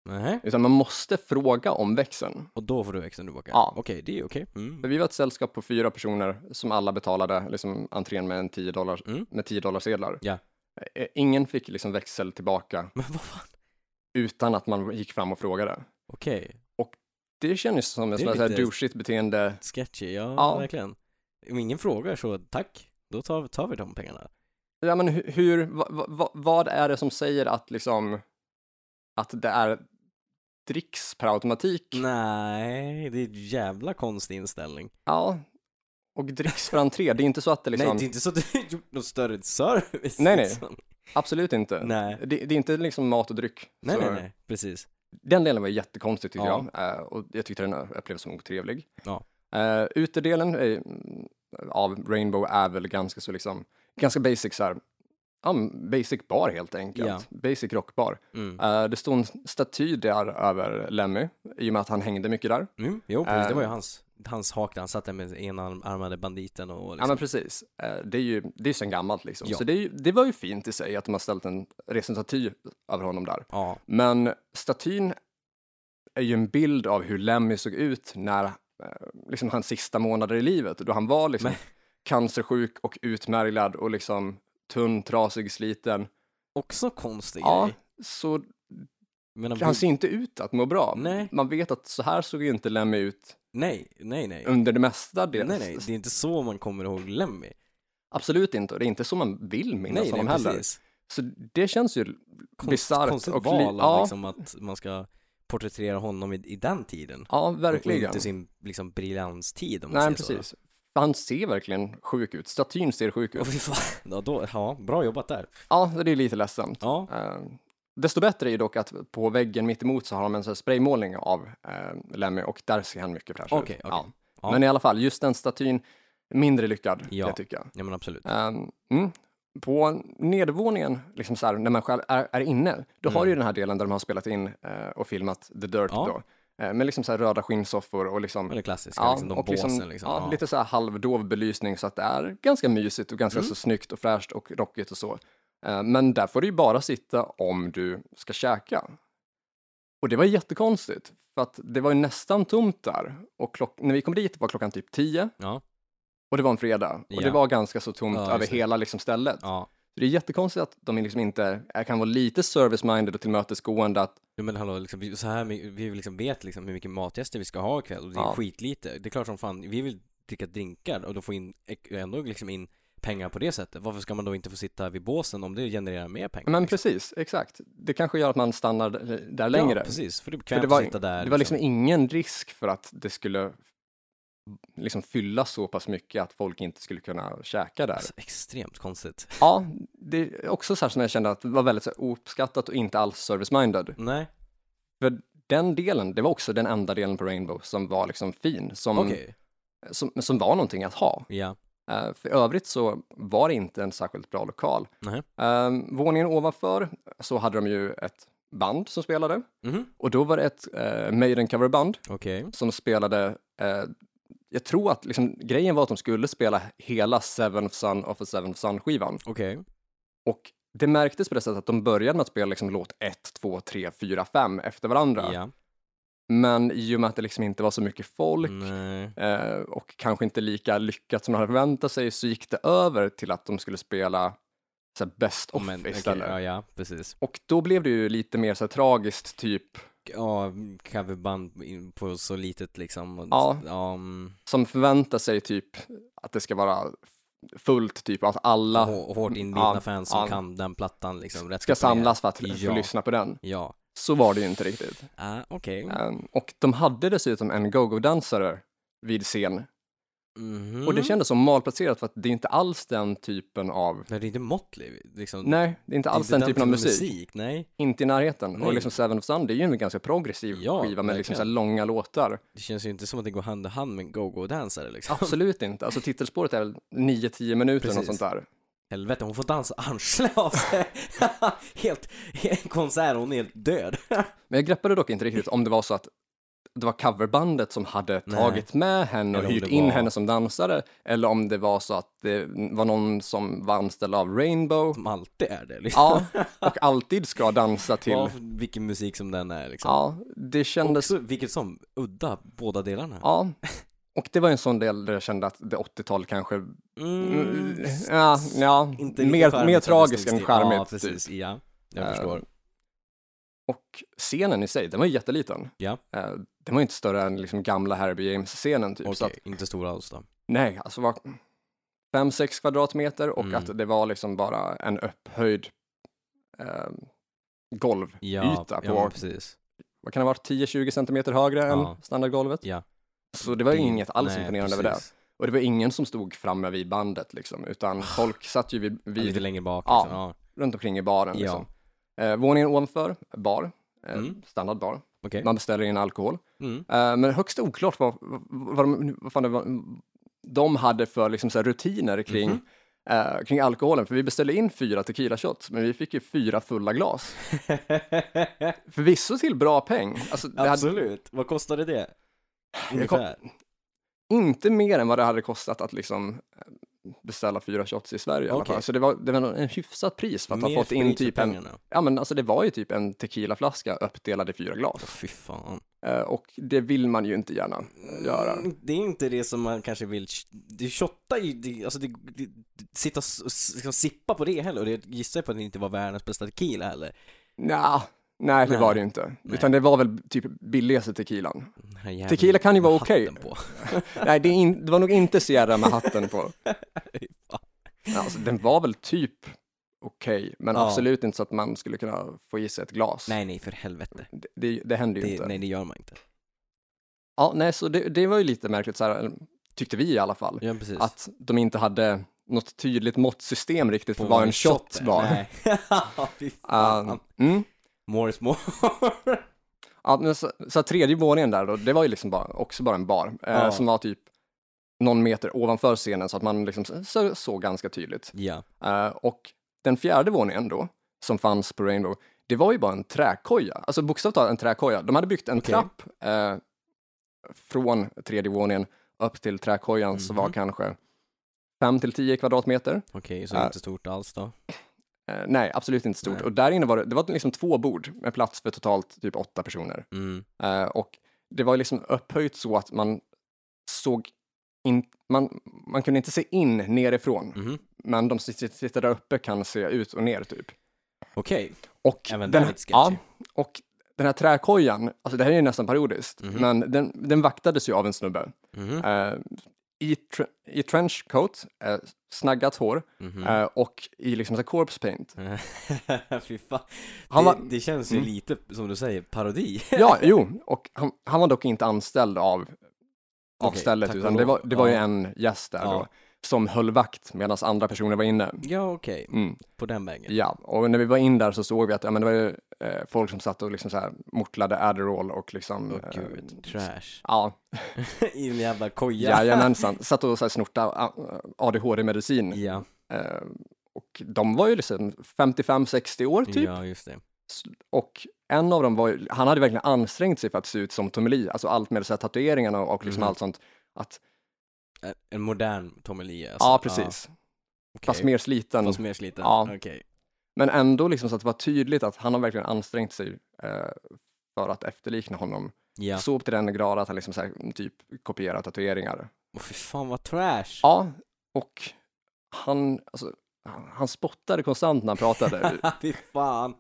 Speaker 2: Nej.
Speaker 1: utan man måste fråga om växeln.
Speaker 2: Och då får du växeln tillbaka?
Speaker 1: Ja.
Speaker 2: Okej, det är okej. Mm.
Speaker 1: För vi var ett sällskap på fyra personer som alla betalade liksom, entrén med, en 10 dollar,
Speaker 2: Mm.
Speaker 1: med 10 dollar sedlar.
Speaker 2: Ja.
Speaker 1: Eh, Ingen fick liksom växel tillbaka
Speaker 2: Men vad fan?
Speaker 1: utan att man gick fram och frågade.
Speaker 2: Okej,
Speaker 1: Det känns som ett
Speaker 2: Det är
Speaker 1: sånt här
Speaker 2: lite-
Speaker 1: douchigt beteende.
Speaker 2: sketchy. Ja,
Speaker 1: Ja.
Speaker 2: verkligen. Om ingen frågar så tack, då tar, tar vi de pengarna.
Speaker 1: Ja, men hu- hur, va, va, va, vad är det som säger att liksom att det är dricks per automatik?
Speaker 2: Nej, det är en jävla konstig inställning.
Speaker 1: Ja, och dricks för entré, det är inte så att det liksom,
Speaker 2: Nej, det är inte så att du har gjort någon större service.
Speaker 1: Nej, nej.
Speaker 2: Liksom.
Speaker 1: absolut inte.
Speaker 2: Nej.
Speaker 1: Det, det är inte liksom mat och dryck.
Speaker 2: Nej,
Speaker 1: Så
Speaker 2: nej, nej, precis.
Speaker 1: Den delen var jättekonstig tyckte
Speaker 2: Ja.
Speaker 1: jag eh, och jag tyckte den upplevdes som otrevlig.
Speaker 2: Ja.
Speaker 1: Eh, Utedelen eh, av Rainbow är väl ganska så liksom, ganska basic så här, ja, men basic bar helt enkelt.
Speaker 2: Ja.
Speaker 1: Basic rockbar.
Speaker 2: Mm.
Speaker 1: Eh, det stod en staty där över Lemmy i och med att han hängde mycket där.
Speaker 2: Mm. Jo, precis, det var ju
Speaker 1: Eh.
Speaker 2: hans, hans hak där han satt där med enarmade banditen och
Speaker 1: Ja
Speaker 2: liksom.
Speaker 1: men precis, Eh, det är ju det är sen gammalt liksom.
Speaker 2: Ja.
Speaker 1: Så det, är ju, det var ju fint i sig att de har ställt en resentaty över honom där.
Speaker 2: Ja,
Speaker 1: Men statyn är ju en bild av hur Lemmy såg ut när eh, liksom hans sista månader i livet, då han var liksom
Speaker 2: Men-
Speaker 1: cancersjuk och utmärglad och liksom tunn, trasig, sliten.
Speaker 2: också konstig
Speaker 1: Ja,
Speaker 2: grej.
Speaker 1: så
Speaker 2: Men han,
Speaker 1: han ser inte ut att må bra.
Speaker 2: Nej.
Speaker 1: Man vet att så här såg ju inte Lemmy ut
Speaker 2: nej, nej, nej.
Speaker 1: under det mesta.
Speaker 2: Nej,
Speaker 1: Dels.
Speaker 2: nej, det är inte så man kommer ihåg Lemmy.
Speaker 1: Absolut inte, och det är inte så man vill minnas
Speaker 2: Nej, nej,
Speaker 1: honom heller.
Speaker 2: precis.
Speaker 1: Så det känns ju
Speaker 2: Konst,
Speaker 1: bisarrt
Speaker 2: konstigt
Speaker 1: och li-
Speaker 2: val av
Speaker 1: ja.
Speaker 2: liksom att man ska porträttera honom i, i den tiden.
Speaker 1: Ja,
Speaker 2: Och
Speaker 1: verkligen.
Speaker 2: inte sin liksom briljanstid om man
Speaker 1: Nej, men
Speaker 2: säger så.
Speaker 1: precis. För han ser verkligen sjuk ut. Statyn ser sjuk
Speaker 2: Åh,
Speaker 1: ut.
Speaker 2: fy fan. Ja, då, ja, bra jobbat där.
Speaker 1: Ja, det är lite ledsamt.
Speaker 2: Ja,
Speaker 1: Eh, desto bättre är ju dock att på väggen mitt emot så har de en sån här spraymålning av eh, Lemmy och där ser han mycket fräschare
Speaker 2: Okej,
Speaker 1: ut.
Speaker 2: okej. Ja.
Speaker 1: Ja. Men i alla fall, just den statyn, mindre lyckad,
Speaker 2: Ja.
Speaker 1: det tycker jag.
Speaker 2: ja men absolut.
Speaker 1: Ehm, mm. På nedervåningen, liksom så här, när man själv är, är inne, då har du ju den här delen där de har spelat in eh, och filmat The Dirt
Speaker 2: Mm. Ja.
Speaker 1: då. Eh, med liksom så här röda skinnsoffor och liksom...
Speaker 2: Eller klassiska, liksom, de
Speaker 1: och
Speaker 2: båsen liksom.
Speaker 1: ja,
Speaker 2: ja.
Speaker 1: lite så här halvdov belysning så att det är ganska mysigt och ganska
Speaker 2: Mm.
Speaker 1: så snyggt och fräscht och rockigt och så. Eh, Men där får du ju bara sitta om du ska käka. Och det var jättekonstigt, för att det var ju nästan tomt där. Och klock- när vi kom dit var klockan typ 10
Speaker 2: ja,
Speaker 1: och det var en fredag. Och
Speaker 2: Ja.
Speaker 1: det var ganska så tomt
Speaker 2: Ja,
Speaker 1: över
Speaker 2: just det.
Speaker 1: hela liksom, stället.
Speaker 2: ja.
Speaker 1: Så det är jättekonstigt att de liksom inte jag kan vara lite service-minded och tillmötesgående. Att,
Speaker 2: Jo, men hallå, liksom, vi, så här, my- vi liksom vet liksom hur mycket matgäster vi ska ha ikväll och det är
Speaker 1: Ja.
Speaker 2: skitlite. Det är klart som fan, vi vill dricka drinkar och då får in, ändå liksom in pengar på det sättet. Varför ska man då inte få sitta vid båsen om det genererar mer pengar?
Speaker 1: men precis, exakt. Det kanske gör att man stannar d- där
Speaker 2: Ja,
Speaker 1: längre.
Speaker 2: precis. För det är
Speaker 1: För
Speaker 2: bekvämt
Speaker 1: det var,
Speaker 2: att sitta där.
Speaker 1: det var liksom ingen risk för att det skulle liksom fylla så pass mycket att folk inte skulle kunna käka där.
Speaker 2: Alltså, extremt konstigt.
Speaker 1: Ja, det är också så här som jag kände att det var väldigt så här, ouppskattat och inte alls service-minded.
Speaker 2: Nej,
Speaker 1: För den delen, det var också den enda delen på Rainbow som var liksom fin, som,
Speaker 2: okej.
Speaker 1: som, som var någonting att ha.
Speaker 2: Ja.
Speaker 1: Eh, För övrigt så var det inte en särskilt bra lokal.
Speaker 2: Nej.
Speaker 1: Eh, Våningen ovanför så hade de ju ett band som spelade
Speaker 2: Mhm.
Speaker 1: och då var det ett eh, Maiden-coverband
Speaker 2: Okej.
Speaker 1: som spelade, eh, jag tror att liksom, grejen var att de skulle spela hela Seven of Sun of a Seven of Sun-skivan.
Speaker 2: Okej.
Speaker 1: Och det märktes på det sättet att de började med att spela liksom låt 1, 2, 3, 4, 5 efter varandra.
Speaker 2: Ja.
Speaker 1: Men i och med att det liksom inte var så mycket folk
Speaker 2: Nej.
Speaker 1: eh, och kanske inte lika lyckat som de hade förväntat sig så gick det över till att de skulle spela så här, Best of
Speaker 2: Men, okej,
Speaker 1: istället.
Speaker 2: ja, ja, precis.
Speaker 1: Och då blev det ju lite mer så här, tragiskt, typ
Speaker 2: Ja, coverband in- på så litet liksom. och-
Speaker 1: Ja.
Speaker 2: ja mm.
Speaker 1: som förväntar sig typ att det ska vara fullt, typ att alla
Speaker 2: Hå- hårt inbitna
Speaker 1: Ja,
Speaker 2: fans som
Speaker 1: ja.
Speaker 2: kan den plattan liksom rätt
Speaker 1: ska
Speaker 2: upp och ner.
Speaker 1: samlas för att få
Speaker 2: Ja.
Speaker 1: lyssna på den.
Speaker 2: Ja,
Speaker 1: Så var det ju inte riktigt.
Speaker 2: ah, okej.
Speaker 1: Ehm, Och de hade dessutom en go-go-dansare vid scen.
Speaker 2: Mhm.
Speaker 1: Och det kändes som malplacerat för att det är inte alls den typen av...
Speaker 2: Men det är inte Motley liksom. det
Speaker 1: Nej, det är inte
Speaker 2: är
Speaker 1: alls
Speaker 2: inte
Speaker 1: den typen av musik.
Speaker 2: Nej,
Speaker 1: Inte i närheten.
Speaker 2: Nej.
Speaker 1: Och liksom Seven of Sun, det är ju en ganska progressiv
Speaker 2: Ja,
Speaker 1: skiva med liksom
Speaker 2: verkligen.
Speaker 1: så här långa låtar.
Speaker 2: det känns ju inte som att det går hand i hand med go-go-dansare liksom.
Speaker 1: Absolut inte. Alltså titelspåret är väl 9-10 minuter och
Speaker 2: Precis.
Speaker 1: sånt där.
Speaker 2: Helvete, hon får dansa arslet av sig. helt, i en konsert, hon är helt död.
Speaker 1: Men jag greppade dock inte riktigt om det var så att det var coverbandet som hade
Speaker 2: Nej.
Speaker 1: tagit med henne och
Speaker 2: Eller om
Speaker 1: hyrt
Speaker 2: det
Speaker 1: in
Speaker 2: var-
Speaker 1: henne som dansare eller om det var så att det var någon som var anställd av Rainbow.
Speaker 2: Som alltid är det liksom.
Speaker 1: Ja, och alltid ska dansa till.
Speaker 2: Ja, vilken musik som den är liksom.
Speaker 1: Ja, det kändes
Speaker 2: Också, vilket som, udda båda delarna.
Speaker 1: Ja, och det var en sån del där jag kände att det 80-tal kanske,
Speaker 2: Mm,
Speaker 1: ja, ja
Speaker 2: inte lika
Speaker 1: mer,
Speaker 2: charmigt
Speaker 1: mer
Speaker 2: av
Speaker 1: tragiskt
Speaker 2: historiskt.
Speaker 1: än charmigt.
Speaker 2: Ja,
Speaker 1: typ.
Speaker 2: precis. Ja, jag
Speaker 1: Eh,
Speaker 2: förstår.
Speaker 1: Och scenen i sig, den var ju jätteliten.
Speaker 2: Ja.
Speaker 1: Eh, Den var ju inte större än liksom gamla Herbie James-scenen typ. Så
Speaker 2: Okej,
Speaker 1: att,
Speaker 2: inte stora alls då.
Speaker 1: nej, alltså var 5-6 kvadratmeter och
Speaker 2: Mm.
Speaker 1: att det var liksom bara en upphöjd eh, golvyta
Speaker 2: ja,
Speaker 1: på,
Speaker 2: men precis.
Speaker 1: vad kan det ha varit, 10-20 centimeter högre
Speaker 2: Ja.
Speaker 1: än standardgolvet.
Speaker 2: Ja.
Speaker 1: Så det var ju
Speaker 2: Det-
Speaker 1: inget alls
Speaker 2: nej,
Speaker 1: imponerande över det.
Speaker 2: precis.
Speaker 1: Och det var ingen som stod framme vid bandet liksom, utan folk satt ju vid,
Speaker 2: Ja, Lite
Speaker 1: vid
Speaker 2: längre bak.
Speaker 1: Ja.
Speaker 2: Liksom. Ja.
Speaker 1: runt omkring i baren.
Speaker 2: Ja.
Speaker 1: Liksom. Eh, våningen ovanför, bar, eh,
Speaker 2: Mm.
Speaker 1: standardbar.
Speaker 2: Okej.
Speaker 1: Man beställer in alkohol.
Speaker 2: Mm.
Speaker 1: Eh, men högst
Speaker 2: Mhm.
Speaker 1: oklart vad, vad, vad, de- vad fan det var, de hade för liksom, så här, rutiner kring eh, kring alkoholen, för vi beställde in fyra tequila shots, men vi fick ju fyra fulla glas. Förvisso till bra peng. Alltså, det hade
Speaker 2: Absolut. Vad kostade det?
Speaker 1: Det kom-
Speaker 2: Ungefär.
Speaker 1: inte mer än vad det hade kostat att liksom eh, beställa fyra shots i Sverige i alla
Speaker 2: Okej.
Speaker 1: fall. Så det var, det var nog en hyfsat pris för att
Speaker 2: Mer
Speaker 1: ha fått in
Speaker 2: sprit för
Speaker 1: typ en,
Speaker 2: pengarna.
Speaker 1: ja men alltså det var ju typ en tequilaflaska uppdelad i fyra
Speaker 2: Åh,
Speaker 1: glas.
Speaker 2: Fy fan.
Speaker 1: Eh, och det vill man ju inte gärna eh, göra.
Speaker 2: Mm, Det är inte det som man kanske vill, du shottar ju, det, alltså det, det, det, sitta och s- s- liksom sippa på det heller och det gissar jag på att det inte var världens bästa tequila heller.
Speaker 1: Nja, nej det
Speaker 2: Nej.
Speaker 1: var det ju inte.
Speaker 2: Nej.
Speaker 1: Utan det var väl typ billigaste tequilan.
Speaker 2: Den här jäveln
Speaker 1: Tequila kan ju
Speaker 2: med
Speaker 1: vara okej.
Speaker 2: hatten på.
Speaker 1: Nej, det, är in, det var nog inte Sierra med hatten på. Alltså, den var väl typ okej, men
Speaker 2: Ja.
Speaker 1: absolut inte så att man skulle kunna få i sig ett glas.
Speaker 2: Nej, nej för helvete.
Speaker 1: Det, det, det hände ju
Speaker 2: Det,
Speaker 1: inte.
Speaker 2: nej, det gör man inte.
Speaker 1: Ja, nej, så det, det var ju lite märkligt, så här, eller, tyckte vi i alla fall,
Speaker 2: Ja, precis.
Speaker 1: att de inte hade något tydligt måttsystem riktigt
Speaker 2: På
Speaker 1: för vad en shot,
Speaker 2: är.
Speaker 1: var.
Speaker 2: Nej. Fy fan.
Speaker 1: Uh, mm.
Speaker 2: more is more.
Speaker 1: Ja, men så, så att tredje våningen där då, det var ju liksom bara, också bara en bar eh,
Speaker 2: Ja.
Speaker 1: som var typ någon meter ovanför scenen så att man liksom så, så, såg ganska tydligt.
Speaker 2: ja.
Speaker 1: Eh, och den fjärde våningen då, som fanns på Rainbow, det var ju bara en träkoja, alltså bokstavligt talat en träkoja. De hade byggt en
Speaker 2: Okej.
Speaker 1: trapp eh, från tredje våningen upp till träkojan som var
Speaker 2: Mhm.
Speaker 1: kanske 5 till 10 kvadratmeter.
Speaker 2: Okej, så
Speaker 1: Ja.
Speaker 2: inte stort alls då.
Speaker 1: Eh, nej, absolut inte stort.
Speaker 2: Nej.
Speaker 1: Och där inne var det, det var liksom två bord med plats för totalt typ åtta personer.
Speaker 2: Mm.
Speaker 1: Eh, och det var liksom upphöjt så att man såg in, man, man kunde inte se in nerifrån,
Speaker 2: Mhm.
Speaker 1: men de som sit- sitter där uppe kan se ut och ner typ.
Speaker 2: Okej,
Speaker 1: Och
Speaker 2: även
Speaker 1: den,
Speaker 2: där lite sketchy.
Speaker 1: ja, och den här träkojan, alltså det här är ju nästan parodiskt,
Speaker 2: Mhm.
Speaker 1: men den, den vaktades ju av en snubbe.
Speaker 2: Mhm.
Speaker 1: Eh, i, tre, I trenchcoat, eh, snaggat hår
Speaker 2: Mhm.
Speaker 1: eh, och i liksom så här corpse paint.
Speaker 2: Fy fan.
Speaker 1: Han
Speaker 2: det,
Speaker 1: var-
Speaker 2: det känns ju lite, som du säger, parodi.
Speaker 1: Ja, jo, och han, han var dock inte anställd av, av
Speaker 2: Okej,
Speaker 1: stället,
Speaker 2: tack
Speaker 1: utan
Speaker 2: och
Speaker 1: det
Speaker 2: lov.
Speaker 1: var, det var ju
Speaker 2: Ja.
Speaker 1: en gäst där
Speaker 2: Ja.
Speaker 1: då, som höll vakt medan andra personer var inne.
Speaker 2: ja, okej.
Speaker 1: Mm,
Speaker 2: På den vägen.
Speaker 1: ja, och när vi var in där så såg vi att ja, men det var ju, eh, folk som satt och liksom så här mortlade Adderall och liksom...
Speaker 2: Åh
Speaker 1: eh,
Speaker 2: gud, trash.
Speaker 1: Ja,
Speaker 2: Mm. I en jävla koja.
Speaker 1: jajamensan. Satt och så här ah, eh, snorta ADHD-medicin.
Speaker 2: Ja,
Speaker 1: Eh, och de var ju liksom 55-60 år typ.
Speaker 2: ja, just det.
Speaker 1: Och en av dem var ju, han hade verkligen ansträngt sig för att se ut som Tommy Lee, alltså allt med så här tatueringarna och, och liksom
Speaker 2: Mhm.
Speaker 1: allt sånt. Att,
Speaker 2: En- En modern Tom Elias.
Speaker 1: ja, precis.
Speaker 2: ah, okej.
Speaker 1: Fast mer sliten.
Speaker 2: Fast mer sliten.
Speaker 1: Ja.
Speaker 2: Okej.
Speaker 1: Men ändå liksom så att det var tydligt att han har verkligen ansträngt sig eh, för att efterlikna honom.
Speaker 2: Ja.
Speaker 1: Så upp till den grad att han liksom så här, typ kopierar tatueringar.
Speaker 2: Åh fy fan vad trash.
Speaker 1: Ja, och han, alltså, han spottade konstant när han pratade.
Speaker 2: fy fan.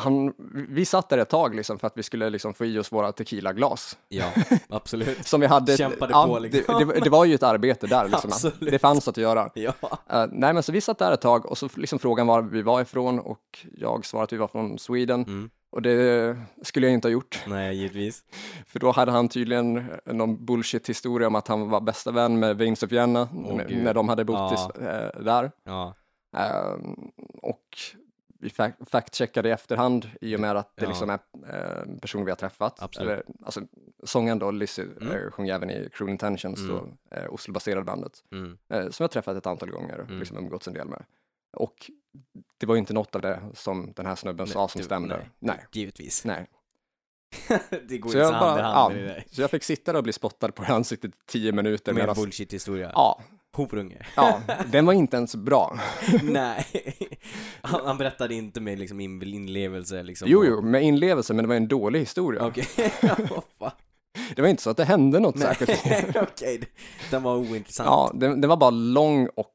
Speaker 1: Han, vi satt där ett tag liksom för att vi skulle liksom få i oss våra tequilaglas.
Speaker 2: Ja, absolut.
Speaker 1: Som vi hade.
Speaker 2: Kämpade på, liksom.
Speaker 1: det, det, det var ju ett arbete där liksom.
Speaker 2: Absolut.
Speaker 1: Det fanns att göra.
Speaker 2: Ja.
Speaker 1: Eh, nej, men så vi satt där ett tag och så liksom frågan var vi var ifrån och jag svarade att vi var från Sweden
Speaker 2: Mm.
Speaker 1: och det skulle jag inte ha gjort
Speaker 2: Nej, givetvis.
Speaker 1: för då hade han tydligen eh, någon bullshit historia om att han var bästa vän med Vince of Vienna n-
Speaker 2: gud.
Speaker 1: när de hade bott i
Speaker 2: Ja.
Speaker 1: s- eh, där
Speaker 2: Ja.
Speaker 1: Eh, och vi fa- fact-checkade i efterhand i och med att det
Speaker 2: Ja.
Speaker 1: liksom är eh, personer vi har träffat.
Speaker 2: Absolut.
Speaker 1: alltså, sången då, Lizzy,
Speaker 2: Mm.
Speaker 1: eh, sjöng även i Cruel Intentions,
Speaker 2: Mm.
Speaker 1: då, eh, Oslo-baserade bandet
Speaker 2: Mm.
Speaker 1: eh, som jag träffat ett antal gånger och
Speaker 2: Mm.
Speaker 1: liksom umgåtts en del med. Och det var ju inte något av det som den här snubben
Speaker 2: Nej,
Speaker 1: sa som
Speaker 2: det-
Speaker 1: stämde.
Speaker 2: nej.
Speaker 1: Nej. nej.
Speaker 2: Givetvis.
Speaker 1: Nej.
Speaker 2: det går
Speaker 1: Så,
Speaker 2: inte
Speaker 1: jag
Speaker 2: hand i
Speaker 1: bara,
Speaker 2: hand med det
Speaker 1: ja,
Speaker 2: där.
Speaker 1: så jag fick sitta där och bli spottad på i ansiktet i tio minuter.
Speaker 2: Med en
Speaker 1: Medan,
Speaker 2: bullshit-historia.
Speaker 1: ja,
Speaker 2: Horunge.
Speaker 1: ja, den var inte ens bra.
Speaker 2: Nej. Han, han berättade inte med liksom in- inlevelse liksom.
Speaker 1: Jo, jo, med inlevelse, men det var en dålig historia.
Speaker 2: Okej. Ja, fan.
Speaker 1: Det var inte så att det hände något
Speaker 2: Nej,
Speaker 1: särskilt.
Speaker 2: Okej, det- den var ointressant.
Speaker 1: Ja, den, den var bara lång och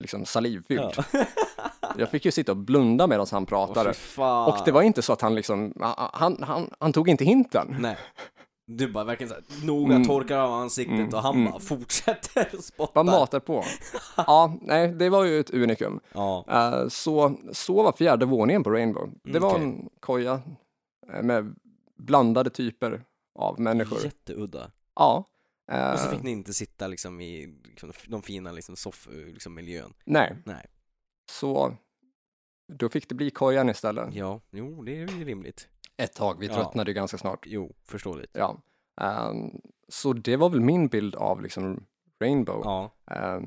Speaker 1: liksom salivfylld.
Speaker 2: Ja.
Speaker 1: Jag fick ju sitta och blunda medan han
Speaker 2: Åh,
Speaker 1: pratade.
Speaker 2: fy fan.
Speaker 1: och det var inte så att han liksom, han, han, han tog inte hinten.
Speaker 2: Nej. Du bara verkligen såhär, noga
Speaker 1: Mm.
Speaker 2: torkar av ansiktet
Speaker 1: Mm,
Speaker 2: och han
Speaker 1: mm.
Speaker 2: bara fortsätter och spottar.
Speaker 1: Bara matar på. Ja, nej, det var ju ett unikum.
Speaker 2: Ja.
Speaker 1: Eh, så, så var fjärde våningen på Rainbow. Det var
Speaker 2: okej.
Speaker 1: en koja eh, med blandade typer av människor.
Speaker 2: Jätteudda.
Speaker 1: Ja. eh,
Speaker 2: Och så fick ni inte sitta liksom i liksom, de fina liksom, soff, liksom, miljön.
Speaker 1: Nej.
Speaker 2: Nej.
Speaker 1: Så då fick det bli kojan istället.
Speaker 2: Ja, jo det är ju rimligt.
Speaker 1: Ett tag, vi
Speaker 2: Ja.
Speaker 1: tröttnade ju ganska snart.
Speaker 2: Jo, förståeligt.
Speaker 1: Ja. Eh, så det var väl min bild av liksom Rainbow.
Speaker 2: Ja.
Speaker 1: Eh,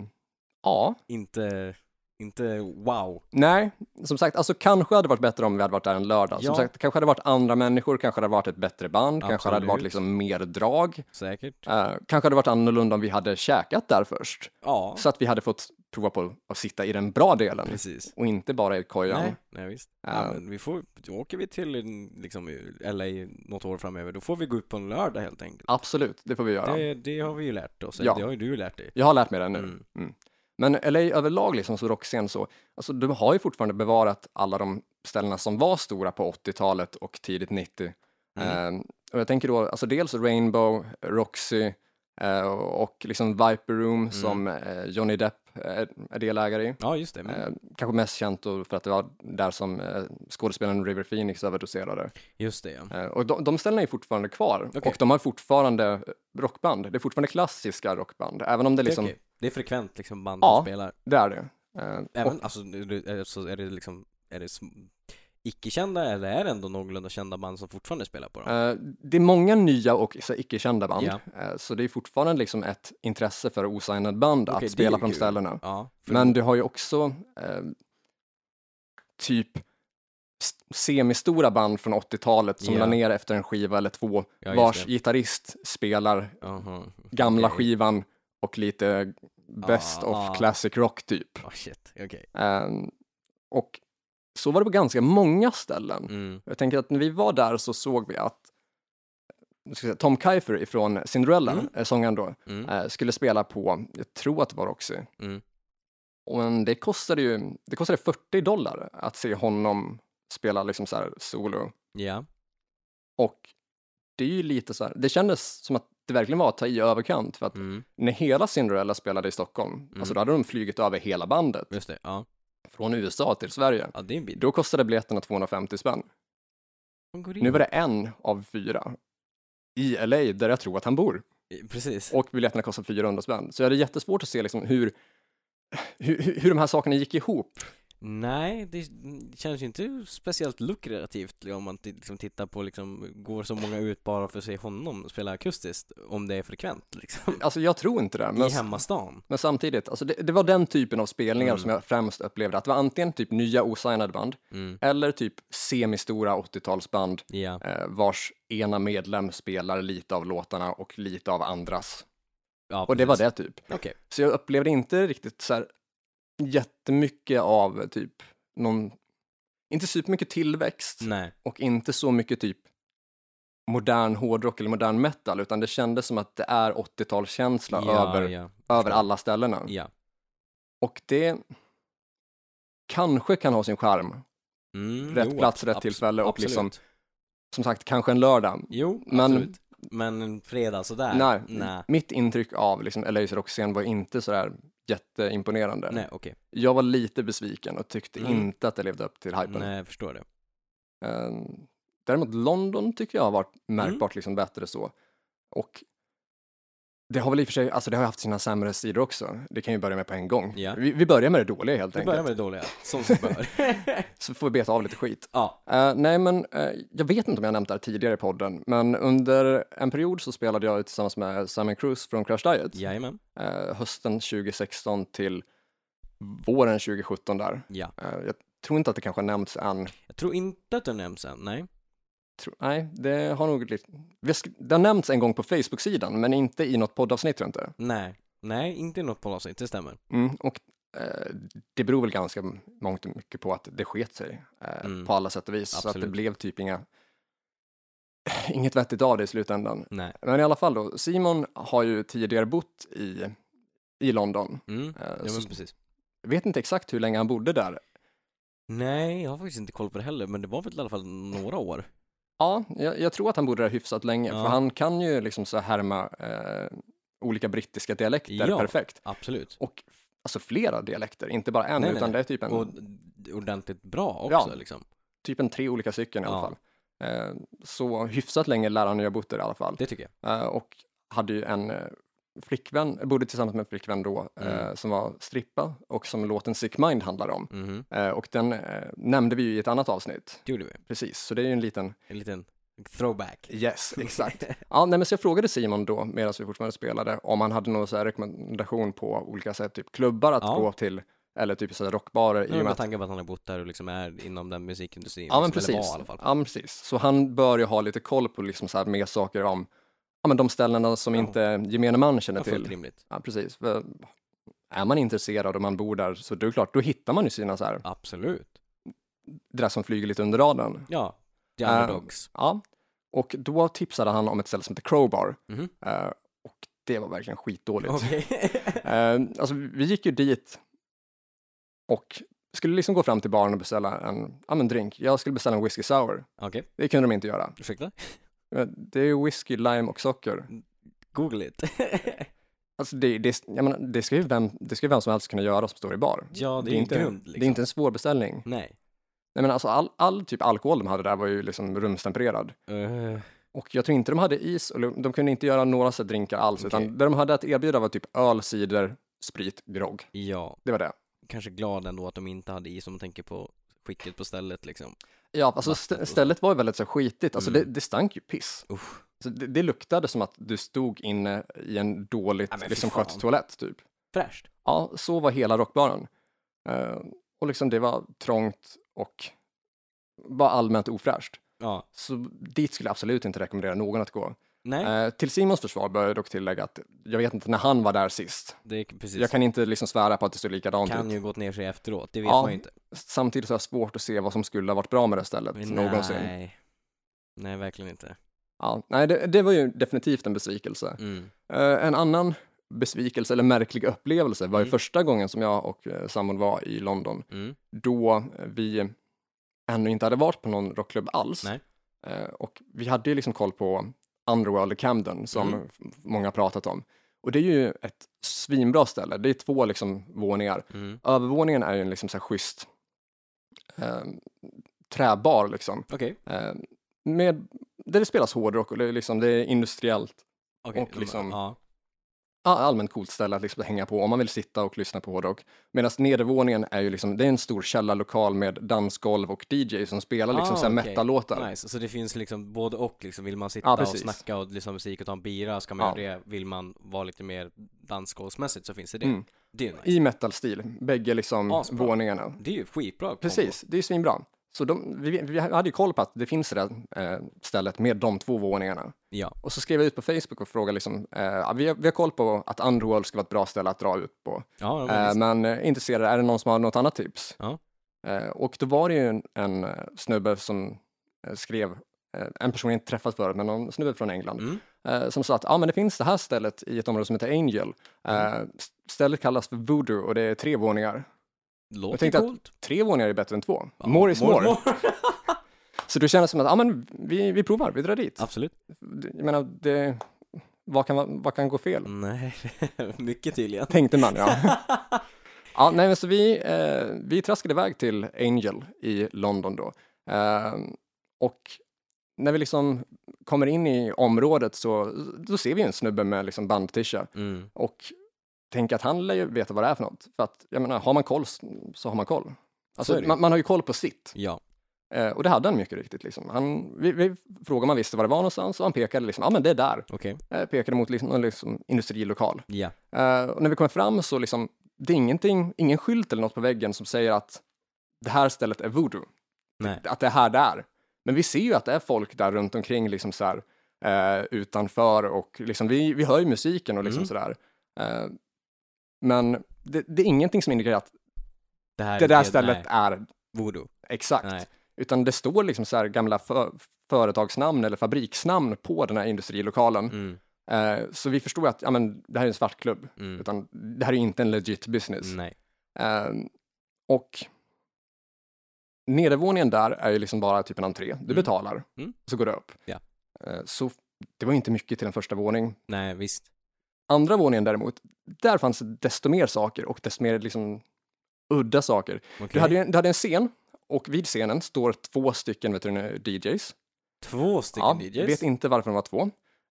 Speaker 1: Ja,
Speaker 2: Inte, inte wow.
Speaker 1: nej, som sagt, alltså kanske hade det varit bättre om vi hade varit där en lördag.
Speaker 2: Ja.
Speaker 1: Som sagt, kanske hade det varit andra människor, kanske hade det varit ett bättre band, kanske hade det varit
Speaker 2: Absolut.
Speaker 1: liksom mer drag.
Speaker 2: Säkert.
Speaker 1: Eh, kanske hade det varit annorlunda om vi hade käkat där först.
Speaker 2: Ja,
Speaker 1: Så att vi hade fått prova på att sitta i den bra delen
Speaker 2: precis.
Speaker 1: och inte bara i kojan.
Speaker 2: Nej, nej visst. Ja,
Speaker 1: Ja.
Speaker 2: men vi får, då åker vi till liksom, LA något år framöver, då får vi gå ut på en lördag helt enkelt.
Speaker 1: Absolut, det får vi göra.
Speaker 2: Det, det har vi ju lärt oss,
Speaker 1: Ja.
Speaker 2: det har ju du lärt dig.
Speaker 1: Jag har lärt mig det nu.
Speaker 2: Mm.
Speaker 1: Men LA överlag, liksom så rockscen så, alltså de har ju fortfarande bevarat alla de ställena som var stora på 80-talet och tidigt 90.
Speaker 2: Mm.
Speaker 1: Eh, och jag tänker då, alltså dels Rainbow, Roxy eh, och liksom Viper Room
Speaker 2: Mm.
Speaker 1: som eh, Johnny Depp eh, är delägare i.
Speaker 2: Ja, just det. Men,
Speaker 1: Eh, kanske mest känt då för att det var där som eh, skådespelaren River Phoenix överdoserade.
Speaker 2: just det ja.
Speaker 1: Eh, och de, de ställena är fortfarande kvar
Speaker 2: Okej.
Speaker 1: och de har fortfarande rockband. Det är fortfarande klassiska rockband, även om det
Speaker 2: Det är,
Speaker 1: liksom,
Speaker 2: okej. det är frekvent liksom band
Speaker 1: Ja.
Speaker 2: som spelar.
Speaker 1: det är det. Eh,
Speaker 2: Även, alltså, är det- är det- så är det liksom, är det sm- icke-kända eller är det ändå någorlunda kända band som fortfarande spelar på dem?
Speaker 1: Eh, det är många nya och så här icke-kända band,
Speaker 2: Ja.
Speaker 1: Eh, så det är fortfarande liksom ett intresse för osignade band
Speaker 2: Okej, det är
Speaker 1: att spela
Speaker 2: ju
Speaker 1: på de
Speaker 2: kul.
Speaker 1: ställena.
Speaker 2: Ja, för-
Speaker 1: Men du har ju också eh, typ s- semistora band från 80-talet som
Speaker 2: Ja.
Speaker 1: la ner efter en skiva eller två,
Speaker 2: Ja, just
Speaker 1: vars
Speaker 2: det.
Speaker 1: gitarrist spelar
Speaker 2: Aha.
Speaker 1: gamla
Speaker 2: Okej.
Speaker 1: skivan och lite best
Speaker 2: Ah,
Speaker 1: of
Speaker 2: ah.
Speaker 1: classic rock typ.
Speaker 2: Ah, shit, okej.
Speaker 1: Eh, och så var det på ganska många ställen.
Speaker 2: Mm.
Speaker 1: Jag tänker att när vi var där så såg vi att nu ska jag säga, Tom Kiefer ifrån Cinderella,
Speaker 2: Mm.
Speaker 1: mm. sångaren då,
Speaker 2: Mm.
Speaker 1: eh, skulle spela på, jag tror att det var Roxy.
Speaker 2: Mm.
Speaker 1: Och en- det kostade ju det kostade 40 dollar att se honom spela liksom så här solo.
Speaker 2: Ja,
Speaker 1: Och det är ju lite så här, det kändes som att det verkligen var att ta i överkant för att
Speaker 2: mm.
Speaker 1: när hela Cinderella spelade i Stockholm, alltså då hade de flugit över hela bandet
Speaker 2: just det. Ja.
Speaker 1: från USA till Sverige.
Speaker 2: ja, det är en bit.
Speaker 1: Då kostade biljetterna 250 spänn.
Speaker 2: De går in.
Speaker 1: Nu var det en av fyra i LA där jag tror att han bor
Speaker 2: Eh, Precis.
Speaker 1: och biljetterna kostar 400 spänn. Så jag hade jättesvårt att se liksom hur, hur, hur de här sakerna gick ihop.
Speaker 2: Nej, det känns ju inte speciellt lukrativt om man t- liksom tittar på liksom, går så många ut bara för att se honom spela akustiskt om det är frekvent liksom.
Speaker 1: Alltså jag tror inte det, men,
Speaker 2: I hemmastan.
Speaker 1: men samtidigt, alltså det, det var den typen av spelningar
Speaker 2: Mm.
Speaker 1: som jag främst upplevde, att det var antingen typ nya osignade band
Speaker 2: Mm.
Speaker 1: eller typ semistora 80-talsband
Speaker 2: Ja,
Speaker 1: eh, vars ena medlem spelar lite av låtarna och lite av andras.
Speaker 2: ja
Speaker 1: Och det var det typ.
Speaker 2: Okej,
Speaker 1: Så jag upplevde inte riktigt så här jättemycket av typ någon, inte supermycket tillväxt
Speaker 2: nej.
Speaker 1: och inte så mycket typ modern hårdrock eller modern metal, utan det kändes som att det är 80-talskänsla
Speaker 2: Ja,
Speaker 1: över,
Speaker 2: ja,
Speaker 1: över alla ställena.
Speaker 2: ja.
Speaker 1: Och det kanske kan ha sin charm.
Speaker 2: Mm,
Speaker 1: Rätt plats, rätt
Speaker 2: abs-
Speaker 1: tillfälle och
Speaker 2: absolut.
Speaker 1: liksom- Som sagt, kanske en lördag.
Speaker 2: Jo,
Speaker 1: Men-
Speaker 2: absolut. Men en fredag sådär?
Speaker 1: Nej,
Speaker 2: Nej,
Speaker 1: mitt intryck av liksom LA's rockscen var inte sådär jätteimponerande.
Speaker 2: nej okej.
Speaker 1: Jag var lite besviken och tyckte
Speaker 2: Mm.
Speaker 1: inte att det levde upp till hypen.
Speaker 2: Nej, jag förstår det.
Speaker 1: Ehm, Däremot London tycker jag har varit
Speaker 2: Mm.
Speaker 1: märkbart liksom bättre så. Och det har väl i och för sig, alltså det har haft sina sämre sidor också. Det kan ju börja med på en gång.
Speaker 2: Ja.
Speaker 1: Vi, vi börjar med det dåliga helt
Speaker 2: Vi
Speaker 1: enkelt,
Speaker 2: börjar med det dåliga, som sig bör.
Speaker 1: så får vi beta av lite skit.
Speaker 2: ja,
Speaker 1: Eh, nej men, eh, jag vet inte om jag nämnt det här tidigare i podden, men under en period så spelade jag tillsammans med Simon Cruz från Crash Diet,
Speaker 2: jajamän.
Speaker 1: eh, hösten 2016 till våren 2017 där.
Speaker 2: Ja.
Speaker 1: Eh, jag tror inte att det kanske har nämnts än,
Speaker 2: Jag tror inte att den nämns än, nej.
Speaker 1: Tro, nej, det har nog lite... vi har sk- Det har nämnts en gång på Facebook-sidan, men inte i något poddavsnitt tror jag inte.
Speaker 2: Nej, nej, inte i något poddavsnitt, det stämmer.
Speaker 1: Mm, och eh, det beror väl ganska mångt och mycket på att det sket sig eh,
Speaker 2: Mm.
Speaker 1: på alla sätt och vis. Så att det
Speaker 2: Absolut.
Speaker 1: blev typ inga... Inget vettigt av det i slutändan.
Speaker 2: Nej.
Speaker 1: Men i alla fall då, Simon har ju tidigare bott i, i London.
Speaker 2: Mm.
Speaker 1: Eh,
Speaker 2: ja, men
Speaker 1: så
Speaker 2: precis.
Speaker 1: jag vet inte exakt hur länge han bodde där.
Speaker 2: Nej, jag har faktiskt inte koll på det heller, men det var väl i alla fall några år.
Speaker 1: Ja, jag, jag tror att han bodde där hyfsat länge,
Speaker 2: Ja.
Speaker 1: för han kan ju liksom så här härma eh, olika brittiska dialekter
Speaker 2: Ja.
Speaker 1: perfekt.
Speaker 2: Absolut.
Speaker 1: och f- alltså flera dialekter, inte bara en,
Speaker 2: Nej, nej,
Speaker 1: utan
Speaker 2: nej.
Speaker 1: det är typ, en,
Speaker 2: Och d- ordentligt bra också
Speaker 1: Ja.
Speaker 2: liksom.
Speaker 1: typ en tre olika stycken i alla
Speaker 2: Ja.
Speaker 1: fall. Eh, så hyfsat länge lär han ju ha bott där i alla fall.
Speaker 2: Det tycker jag.
Speaker 1: Eh, och hade ju en eh, flickvän, bodde tillsammans med en flickvän då, eh,
Speaker 2: Mm.
Speaker 1: som var strippa och som låten Sick Mind handlar om.
Speaker 2: Mhm.
Speaker 1: Eh, och den eh, nämnde vi ju i ett annat avsnitt,
Speaker 2: Det gjorde vi.
Speaker 1: precis, så det är ju en liten
Speaker 2: En liten Throwback.
Speaker 1: Yes, exakt. Ja, nej, men så jag frågade Simon då, medan vi fortfarande spelade, om han hade någon så här rekommendation på olika sätt, typ klubbar att
Speaker 2: Ja.
Speaker 1: gå till, eller typ så här rockbarer.
Speaker 2: Nej,
Speaker 1: i och
Speaker 2: men
Speaker 1: med
Speaker 2: med
Speaker 1: att,
Speaker 2: tanke på att han har bott där och liksom är inom den musikindustrin.
Speaker 1: ja, men
Speaker 2: liksom,
Speaker 1: precis.
Speaker 2: Eller var, i alla fall.
Speaker 1: ja, men precis. Så han bör ju ha lite koll på liksom så här mer saker om ja, men de ställena som
Speaker 2: Ja.
Speaker 1: inte gemene man känner
Speaker 2: Ja, fullt
Speaker 1: till.
Speaker 2: rimligt.
Speaker 1: Ja, precis. För Är man intresserad och man bor där, så det är klart, då hittar man ju sina så här,
Speaker 2: Absolut.
Speaker 1: det där som flyger lite under radarn.
Speaker 2: Ja, The
Speaker 1: Ehm,
Speaker 2: Underdogs.
Speaker 1: Ja, och då tipsade han om ett ställe som heter Crowbar.
Speaker 2: Mhm.
Speaker 1: Eh, och det var verkligen skitdåligt.
Speaker 2: Okej.
Speaker 1: Eh, alltså, vi gick ju dit och skulle liksom gå fram till baren och beställa en, ja men drink. Jag skulle beställa en whisky sour.
Speaker 2: Okej,
Speaker 1: Det kunde de inte göra.
Speaker 2: ursäkta?
Speaker 1: Eh, Det är whisky, lime och socker.
Speaker 2: Google it.
Speaker 1: Alltså det, det, jag menar, det, ska ju vem, det ska ju vem som helst kunna göra som står i bar.
Speaker 2: ja,
Speaker 1: Det
Speaker 2: det är
Speaker 1: är
Speaker 2: ju
Speaker 1: inte-
Speaker 2: grymt liksom.
Speaker 1: Det är inte en svår beställning.
Speaker 2: Nej.
Speaker 1: Nej, men alltså all, all typ alkohol de hade där var ju liksom rumstempererad.
Speaker 2: Eh, Och
Speaker 1: Och jag tror inte de hade is, och de kunde inte göra några så här drinkar alls,
Speaker 2: Okej.
Speaker 1: utan det de hade att erbjuda var typ öl, cider, sprit, grogg.
Speaker 2: ja,
Speaker 1: Det var det.
Speaker 2: kanske glad ändå att de inte hade is om man tänker på skicket på stället liksom.
Speaker 1: Ja, alltså
Speaker 2: Vatten
Speaker 1: st-
Speaker 2: och så.
Speaker 1: stället var ju väldigt så här skitigt, alltså
Speaker 2: Mm.
Speaker 1: det, det stank ju piss.
Speaker 2: Usch.
Speaker 1: Så det, det luktade som att du stod inne i en dåligt
Speaker 2: Ja, men fy
Speaker 1: liksom
Speaker 2: fan.
Speaker 1: skött toalett typ.
Speaker 2: Fräscht.
Speaker 1: Ja, så var hela rockbaren. Eh, och liksom det var trångt och bara allmänt ofräscht.
Speaker 2: Ja.
Speaker 1: Så dit skulle jag absolut inte rekommendera någon att gå.
Speaker 2: Nej,
Speaker 1: Eh, till Simons försvar bör jag dock tillägga att jag vet inte när han var där sist.
Speaker 2: det är precis.
Speaker 1: Jag kan inte liksom svära på att det såg likadant
Speaker 2: kan
Speaker 1: ut.
Speaker 2: ju gått ner sig efteråt, det vet
Speaker 1: Ja,
Speaker 2: man ju inte.
Speaker 1: Samtidigt så har jag svårt att se vad som skulle ha varit bra med det stället någonsin.
Speaker 2: Nej. Nej, verkligen inte.
Speaker 1: Ja, nej, det, det var ju definitivt en besvikelse.
Speaker 2: Mm.
Speaker 1: Eh, en annan besvikelse eller märklig upplevelse var ju
Speaker 2: Mm.
Speaker 1: första gången som jag och eh, sambon var i London,
Speaker 2: Mm.
Speaker 1: då eh, vi ännu inte hade varit på någon rockklubb alls.
Speaker 2: Nej.
Speaker 1: Eh, och vi hade ju liksom koll på Underworld i Camden som
Speaker 2: Mm.
Speaker 1: f- många har pratat om. Och det är ju ett svinbra ställe, det är två liksom våningar.
Speaker 2: Mm.
Speaker 1: Övervåningen är ju en liksom så här schysst eh, träbar liksom.
Speaker 2: Okej.
Speaker 1: Eh, med, där det spelas hårdrock och det är, liksom, det är industriellt.
Speaker 2: Okej.
Speaker 1: Och liksom-
Speaker 2: Ja.
Speaker 1: Ja, allmänt coolt ställe att liksom hänga på om man vill sitta och lyssna på hårdrock. Medan nedervåningen är ju liksom, det är en stor källarlokal med dansgolv och DJ som spelar liksom
Speaker 2: Ah,
Speaker 1: så här
Speaker 2: okej.
Speaker 1: metallåtar.
Speaker 2: Nice, så det finns liksom både och liksom, vill man sitta
Speaker 1: Ja,
Speaker 2: och
Speaker 1: precis.
Speaker 2: snacka och lyssna på musik och ta en bira ska man
Speaker 1: Ja.
Speaker 2: göra det, vill man vara lite mer dansgolvsmässigt så finns det det.
Speaker 1: Mm.
Speaker 2: Det är nice. Ah,
Speaker 1: I metalstil, bägge liksom
Speaker 2: Asbra.
Speaker 1: våningarna.
Speaker 2: Det är ju skitbra kombo.
Speaker 1: Precis, det är ju svinbra. Så de, vi, vi hade ju koll på att det finns det där eh, stället med de två våningarna.
Speaker 2: Ja,
Speaker 1: Och så skrev jag ut på Facebook och frågade liksom, eh, ja, vi, har, vi har koll på att Underworld ska vara ett bra ställe att dra ut på.
Speaker 2: ja,
Speaker 1: Eh,
Speaker 2: men,
Speaker 1: men eh, intresserad, är det någon som har något annat tips?
Speaker 2: Ja.
Speaker 1: Eh, och då var det ju en, en eh, snubbe som eh, skrev, eh, en person jag inte träffat förut, men någon snubbe från England,
Speaker 2: mm.
Speaker 1: eh, som sa att ah, men det finns det här stället i ett område som heter Angel. Eh,
Speaker 2: Mm.
Speaker 1: s- stället kallas för Voodoo och det är tre våningar. Jag
Speaker 2: Låter
Speaker 1: tänkte att-
Speaker 2: coolt.
Speaker 1: Tre våningar är bättre än två.
Speaker 2: Ja,
Speaker 1: more is more.
Speaker 2: more.
Speaker 1: Så då kändes det som att ah, men vi, vi provar, vi drar dit.
Speaker 2: Absolut.
Speaker 1: Det- Jag menar, det, vad, kan, vad kan gå fel?
Speaker 2: Nej, mycket tydligen.
Speaker 1: Tänkte man, ja. ja nej, men så vi, eh, vi traskade iväg till Angel i London då. Eh, och när vi liksom kommer in i området så då ser vi en snubbe med liksom bandtisha
Speaker 2: Mm.
Speaker 1: och tänker att han lär ju veta vad det är för något. För att, jag menar, har man koll s- så har man koll.
Speaker 2: Så är
Speaker 1: Alltså,
Speaker 2: det ju.
Speaker 1: man, man har ju koll på sitt.
Speaker 2: Ja,
Speaker 1: Eh, och det hade han mycket riktigt. Liksom. Han, vi, vi frågade om han visste var det var någonstans och han pekade liksom, ja ah, men det är där.
Speaker 2: okej.
Speaker 1: Eh, pekade mot liksom, någon liksom industrilokal.
Speaker 2: Ja.
Speaker 1: Eh, och när vi kommer fram så liksom, det är ingenting, ingen skylt eller något på väggen som säger att det här stället är voodoo,
Speaker 2: Nej.
Speaker 1: att det är här det är. Men vi ser ju att det är folk där runt omkring, liksom så här, eh, utanför och liksom, vi, vi hör ju musiken och liksom
Speaker 2: Mm.
Speaker 1: sådär. Eh, men det, det är ingenting som indikerar att
Speaker 2: Det, här
Speaker 1: det
Speaker 2: är
Speaker 1: där
Speaker 2: helt-
Speaker 1: stället
Speaker 2: Nej.
Speaker 1: är
Speaker 2: Voodoo.
Speaker 1: exakt.
Speaker 2: Nej.
Speaker 1: Utan det står liksom så här gamla för, företagsnamn eller fabriksnamn på den här industrilokalen.
Speaker 2: Mm.
Speaker 1: Eh, så vi förstår att ja, men, det här är en svartklubb,
Speaker 2: Mm.
Speaker 1: utan det här är inte en legit business.
Speaker 2: Nej.
Speaker 1: Ehm, och nedervåningen där är ju liksom bara typ en entré. Du betalar,
Speaker 2: Mm.
Speaker 1: så går det upp.
Speaker 2: Ja.
Speaker 1: Eh, så det var ju inte mycket till en första våning.
Speaker 2: Nej, visst.
Speaker 1: Andra våningen däremot, där fanns det desto mer saker och desto mer liksom udda saker.
Speaker 2: Okej.
Speaker 1: Du, hade ju en, du hade en scen och vid scenen står två stycken vet du, DJs.
Speaker 2: Två stycken
Speaker 1: Ja,
Speaker 2: DJs.
Speaker 1: Vet inte varför de var två.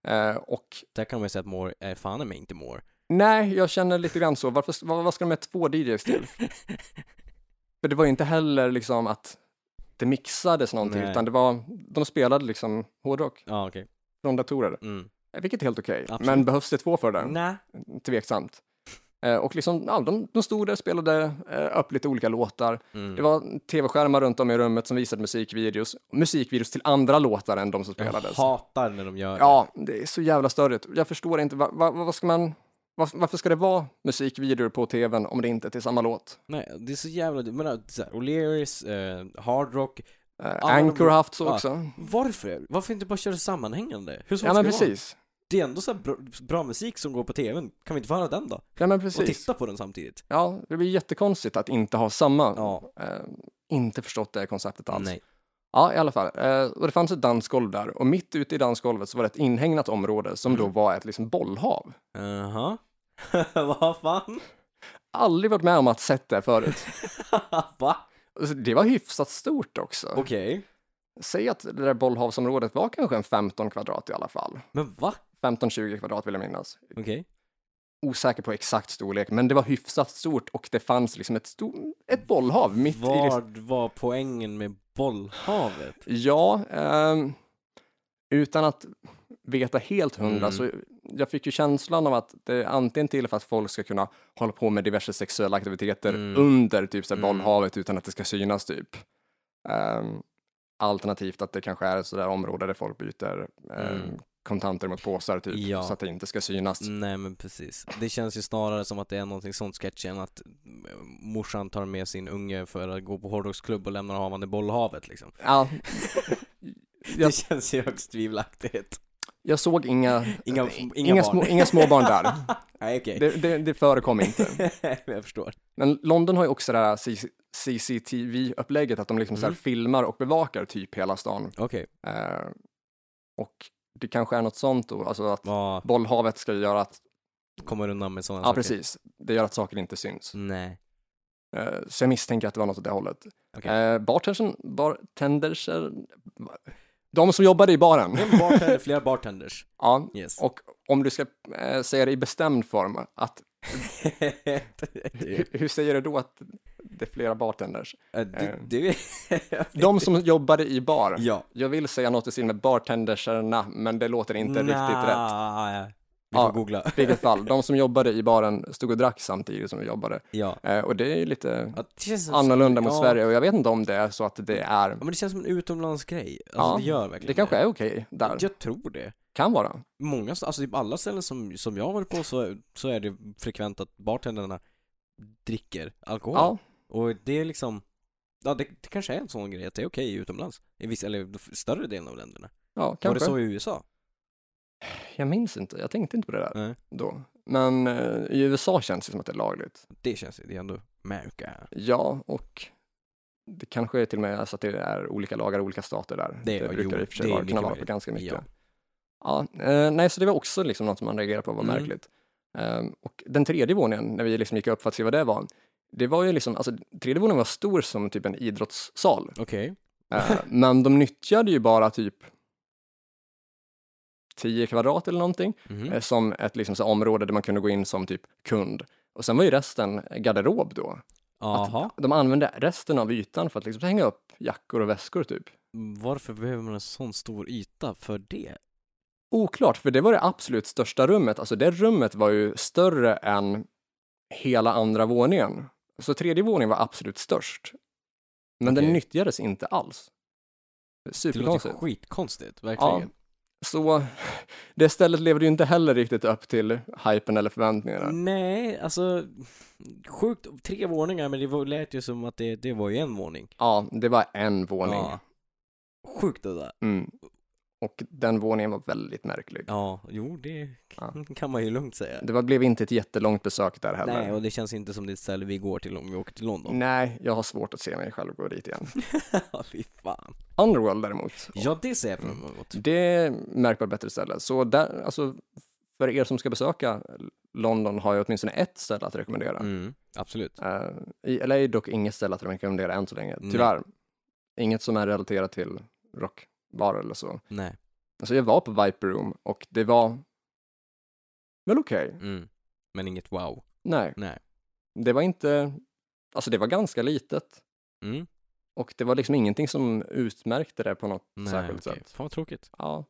Speaker 1: Eh, och
Speaker 2: Där kan man ju säga att more är fan är mig inte more.
Speaker 1: nej, jag känner lite grann så, varför, vad, vad ska de med två DJs till? För det var ju inte heller liksom att inte mixades någonting,
Speaker 2: Nej.
Speaker 1: utan det var, de spelade liksom hårdrock
Speaker 2: Ja, okej.
Speaker 1: från datorer,
Speaker 2: Mm.
Speaker 1: vilket är helt okej.
Speaker 2: Absolut.
Speaker 1: Men behövs det två för det?
Speaker 2: Nej.
Speaker 1: Tveksamt. Eh, Och liksom, ja, de, de stod där och spelade eh, upp lite olika låtar.
Speaker 2: Mm.
Speaker 1: Det var tv-skärmar runt om i rummet som visade musikvideos, musikvideos till andra låtar än de som
Speaker 2: Jag
Speaker 1: spelades.
Speaker 2: hatar när de gör
Speaker 1: Ja, det är så jävla störigt. Jag förstår inte, va, va, vad ska man, va, varför ska det vara musikvideor på tvn om det inte är till samma låt?
Speaker 2: Nej, det är så jävla... Jag menar, så här, O'Learys, eh, Hard Rock.
Speaker 1: Eh,
Speaker 2: men
Speaker 1: Anchor
Speaker 2: de-
Speaker 1: har haft så
Speaker 2: ja.
Speaker 1: också.
Speaker 2: Varför? Varför inte bara köra sammanhängande? Hur svårt
Speaker 1: Ja,
Speaker 2: ska
Speaker 1: men
Speaker 2: det vara?
Speaker 1: precis.
Speaker 2: Det är ändå så här bra, bra musik som går på tvn. Kan vi inte få höra den då?
Speaker 1: Ja, men
Speaker 2: Och
Speaker 1: precis.
Speaker 2: titta på den samtidigt?
Speaker 1: Ja, det blir jättekonstigt att inte ha samma.
Speaker 2: Ja.
Speaker 1: Eh, inte förstått det här konceptet alls.
Speaker 2: Nej.
Speaker 1: Ja, i alla fall. Eh, och det fanns ett dansgolv där och mitt ute i dansgolvet så var det ett inhägnat område som
Speaker 2: Mm.
Speaker 1: då var ett liksom bollhav.
Speaker 2: Jaha. Vad fan?
Speaker 1: Aldrig varit med om att sett det förut.
Speaker 2: Va?
Speaker 1: Alltså, det var hyfsat stort också.
Speaker 2: Okej.
Speaker 1: Säg att det där bollhavsområdet var kanske en 15 kvadrat i alla fall.
Speaker 2: Men va?
Speaker 1: 15-20 kvadrat vill jag minnas.
Speaker 2: Okej.
Speaker 1: Osäker på exakt storlek, men det var hyfsat stort och det fanns liksom ett, stor, ett bollhav mitt i... liksom-
Speaker 2: Vad var poängen med bollhavet?
Speaker 1: Ja, ehm, utan att veta helt hundra
Speaker 2: Mm.
Speaker 1: så jag fick ju känslan av att det är antingen till för att folk ska kunna hålla på med diverse sexuella aktiviteter
Speaker 2: Mm.
Speaker 1: under typ så här,
Speaker 2: Mm.
Speaker 1: bollhavet utan att det ska synas typ. Ehm, alternativt att det kanske är ett sådär område där folk byter ehm,
Speaker 2: Mm.
Speaker 1: kontanter mot påsar typ
Speaker 2: Ja. Mm.
Speaker 1: så att det inte ska synas.
Speaker 2: Nej men precis. Det känns ju snarare som att det är någonting sånt sketch än att mm, morsan tar med sin unge för att gå på hårdrocksklubb och lämnar honom i bollhavet liksom.
Speaker 1: Ja, Ja.
Speaker 2: Det känns ju högst tvivelaktigt.
Speaker 1: jag såg inga,
Speaker 2: Inga- inga barn.
Speaker 1: små, inga småbarn där.
Speaker 2: Nej okej.
Speaker 1: Det, det, det förekom inte.
Speaker 2: jag förstår.
Speaker 1: Men London har ju också det här CC CCTV-upplägget, att de liksom så här
Speaker 2: Mm.
Speaker 1: filmar och bevakar typ hela stan.
Speaker 2: Okej.
Speaker 1: Eh, och det kanske är något sånt då, alltså att
Speaker 2: Ja,
Speaker 1: bollhavet ska göra att,
Speaker 2: kommer undan med sådana
Speaker 1: ja precis, det gör att saker inte syns.
Speaker 2: Nej.
Speaker 1: Eh, så jag misstänker att det var något åt det hållet.
Speaker 2: Okej.
Speaker 1: Eh, bartendersen, bartenderser, de som jobbade i baren.
Speaker 2: En bartender, flera bartenders.
Speaker 1: ja,
Speaker 2: Yes.
Speaker 1: och om du ska eh, säga det i bestämd form, att, hur, hur säger du då att det är flera bartenders?
Speaker 2: Eh, du, du...
Speaker 1: De som jobbade i bar.
Speaker 2: ja.
Speaker 1: Jag vill säga något i stil med bartenderserna, men det låter inte riktigt rätt.
Speaker 2: Nej. Vi
Speaker 1: Ja.
Speaker 2: får googla.
Speaker 1: I vilket fall, de som jobbade i baren stod och drack samtidigt som vi jobbade.
Speaker 2: Ja.
Speaker 1: Eh, och det är ju lite
Speaker 2: Ja, det känns som-
Speaker 1: annorlunda mot
Speaker 2: Alltså, ja.
Speaker 1: Sverige och jag vet inte om det är så att det är,
Speaker 2: Ja, men det känns som en utomlandsgrej. Alltså
Speaker 1: Ja,
Speaker 2: det gör verkligen
Speaker 1: det kanske är okej där.
Speaker 2: Jag tror det.
Speaker 1: Kan vara.
Speaker 2: Många, alltså typ alla ställen som, som jag har varit på så, så är det frekvent att bartendrarna dricker alkohol.
Speaker 1: Ja,
Speaker 2: Och det är liksom, ja det, det kanske är en sån grej att det är okej utomlands. I vissa, eller f- större delen av länderna.
Speaker 1: ja
Speaker 2: Var det
Speaker 1: kanske.
Speaker 2: så i USA?
Speaker 1: Jag minns inte, jag tänkte inte på det där
Speaker 2: Nej.
Speaker 1: då. Men eh, i USA känns det som att det är lagligt.
Speaker 2: Det känns ju, det är ändå America.
Speaker 1: Ja, och det kanske är till och med är så att det är olika lagar i olika stater där.
Speaker 2: Det- ja,
Speaker 1: brukar
Speaker 2: jo,
Speaker 1: i och för sig
Speaker 2: det är
Speaker 1: vara,
Speaker 2: mycket
Speaker 1: kunna vara på
Speaker 2: möjligt.
Speaker 1: ganska mycket.
Speaker 2: Ja.
Speaker 1: Ja, eh, nej, så det var också liksom något som man reagerade på var
Speaker 2: Mm.
Speaker 1: märkligt. Ehm, och den tredje våningen, när vi liksom gick upp för att se vad det var, det var ju liksom, alltså tredje våningen var stor som typ en idrottssal,
Speaker 2: Okej.
Speaker 1: Eh, men de nyttjade ju bara typ 10 kvadrat eller någonting,
Speaker 2: Mhm.
Speaker 1: eh, som ett liksom så här område där man kunde gå in som typ kund. Och sen var ju resten garderob då.
Speaker 2: Aha.
Speaker 1: De använde resten av ytan för att liksom hänga upp jackor och väskor typ.
Speaker 2: Varför behöver man en sån stor yta för det?
Speaker 1: Oklart, för det var det absolut största rummet. Alltså det rummet var ju större än hela andra våningen. Så tredje våningen var absolut störst. Men den
Speaker 2: Okej.
Speaker 1: nyttjades inte alls.
Speaker 2: Det låter
Speaker 1: Superkonstigt.
Speaker 2: skitkonstigt, verkligen.
Speaker 1: Så det stället levde ju inte heller riktigt upp till hypen eller
Speaker 2: Mm.
Speaker 1: förväntningarna.
Speaker 2: Nej, alltså sjukt, tre våningar men det var, lät ju som att det, det var ju en våning.
Speaker 1: Ja, det var en våning.
Speaker 2: Ja. Sjukt det där.
Speaker 1: Mm. Och den våningen var väldigt märklig.
Speaker 2: Ja, jo det
Speaker 1: Ja.
Speaker 2: kan man ju lugnt säga.
Speaker 1: Det var, blev inte ett jättelångt besök där heller.
Speaker 2: Nej, och det känns inte som det ställe vi går till om vi åker till London.
Speaker 1: Nej, jag har svårt att se mig själv gå dit igen.
Speaker 2: Ja, fy fan.
Speaker 1: Underworld däremot,
Speaker 2: Ja, det ser jag fram emot.
Speaker 1: Det är märkbart bättre ställe. Så där, alltså, för er som ska besöka London har jag åtminstone ett ställe att rekommendera.
Speaker 2: Mm, absolut.
Speaker 1: Eh, I LA dock inget ställe att rekommendera än så länge,
Speaker 2: Nej.
Speaker 1: tyvärr. Inget som är relaterat till rockbarer eller så.
Speaker 2: Nej.
Speaker 1: Alltså jag var på Viper Room och det var väl okej.
Speaker 2: Mm. Men inget wow.
Speaker 1: Nej,
Speaker 2: Nej.
Speaker 1: det var inte, alltså det var ganska litet.
Speaker 2: Mm.
Speaker 1: Och det var liksom ingenting som utmärkte det på något
Speaker 2: Nej,
Speaker 1: särskilt
Speaker 2: okej.
Speaker 1: sätt.
Speaker 2: Fan vad tråkigt.
Speaker 1: Ja.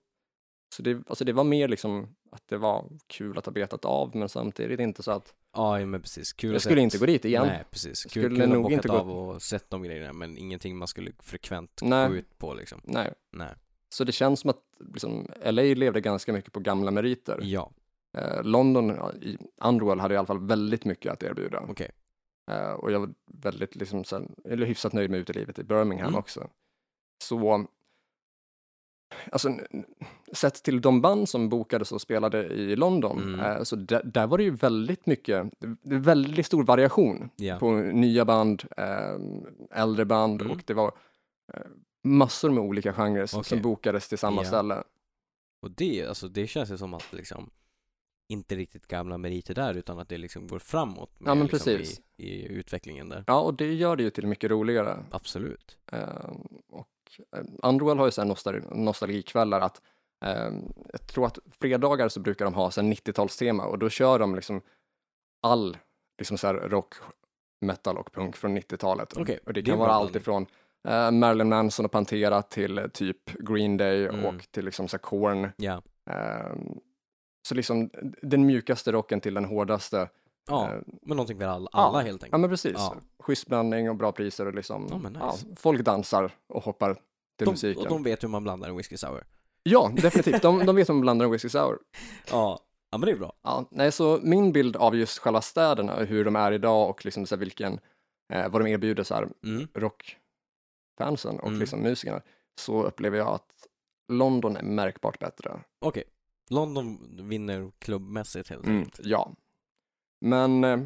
Speaker 1: Så det, alltså det var mer liksom att det var kul att ha betat av, men samtidigt inte så att
Speaker 2: Ja, ja, men precis. Kul
Speaker 1: jag
Speaker 2: att
Speaker 1: skulle
Speaker 2: sett-
Speaker 1: inte gå dit igen.
Speaker 2: Nej, precis. Kul,
Speaker 1: Skulle
Speaker 2: kul att ha
Speaker 1: nog
Speaker 2: bockat
Speaker 1: inte gå-
Speaker 2: av och sett de grejerna, men ingenting man skulle frekvent
Speaker 1: Nej.
Speaker 2: gå ut på liksom.
Speaker 1: Nej.
Speaker 2: Nej.
Speaker 1: Så det känns som att liksom, LA levde ganska mycket på gamla meriter.
Speaker 2: Ja,
Speaker 1: Eh, London ja, i Underworld hade i alla fall väldigt mycket att erbjuda.
Speaker 2: okej.
Speaker 1: Eh, och jag var väldigt, liksom, sen, eller hyfsat nöjd med utelivet i Birmingham
Speaker 2: Mm.
Speaker 1: också. Så, alltså, n- n- sett till de band som bokades och spelade i London,
Speaker 2: Mm.
Speaker 1: eh, så där, där var det ju väldigt mycket, det är väldigt stor variation
Speaker 2: Ja.
Speaker 1: på nya band, eh, äldre band
Speaker 2: Mm.
Speaker 1: och det var eh, massor med olika genrer
Speaker 2: Okej.
Speaker 1: som bokades till samma
Speaker 2: Ja.
Speaker 1: ställe.
Speaker 2: Och det, alltså det känns ju som att liksom inte riktigt gamla meriter där utan att det liksom går framåt med,
Speaker 1: Ja, men
Speaker 2: liksom,
Speaker 1: precis.
Speaker 2: I, i utvecklingen där.
Speaker 1: Ja, och det gör det ju till mycket roligare.
Speaker 2: Absolut.
Speaker 1: Eh, och eh, Underworld har ju så här nostal- nostalgikvällar att eh, jag tror att fredagar så brukar de ha så här 90-talstema och då kör de liksom all liksom så här rock, metal och punk från 90-talet.
Speaker 2: Okej,
Speaker 1: och det
Speaker 2: det
Speaker 1: kan
Speaker 2: är en
Speaker 1: vara
Speaker 2: bra
Speaker 1: allt
Speaker 2: blandning.
Speaker 1: ifrån eh, Marilyn Manson och Pantera till eh, typ Green Day
Speaker 2: Mm.
Speaker 1: och till liksom så här Korn.
Speaker 2: Ja.
Speaker 1: Eh, så liksom den mjukaste rocken till den hårdaste.
Speaker 2: Ja,
Speaker 1: Eh,
Speaker 2: men någonting för alla, alla helt
Speaker 1: Ja
Speaker 2: enkelt.
Speaker 1: men precis.
Speaker 2: Ja.
Speaker 1: Schysst blandning och bra priser och liksom,
Speaker 2: Ja, men nice.
Speaker 1: ja, folk dansar och hoppar till
Speaker 2: De,
Speaker 1: musiken.
Speaker 2: och de vet hur man blandar en whisky sour.
Speaker 1: Ja, definitivt. De, de vet om man blandar en whisky sour.
Speaker 2: Ja, ja men det är bra.
Speaker 1: Ja, nej, så min bild av just själva städerna, och hur de är idag och liksom så här vilken, eh, vad de erbjuder så här,
Speaker 2: Mm.
Speaker 1: rockfansen och
Speaker 2: Mm.
Speaker 1: liksom musikerna, så upplever jag att London är märkbart bättre.
Speaker 2: Okej. London vinner klubbmässigt helt
Speaker 1: Mm,
Speaker 2: enkelt.
Speaker 1: ja. Men eh,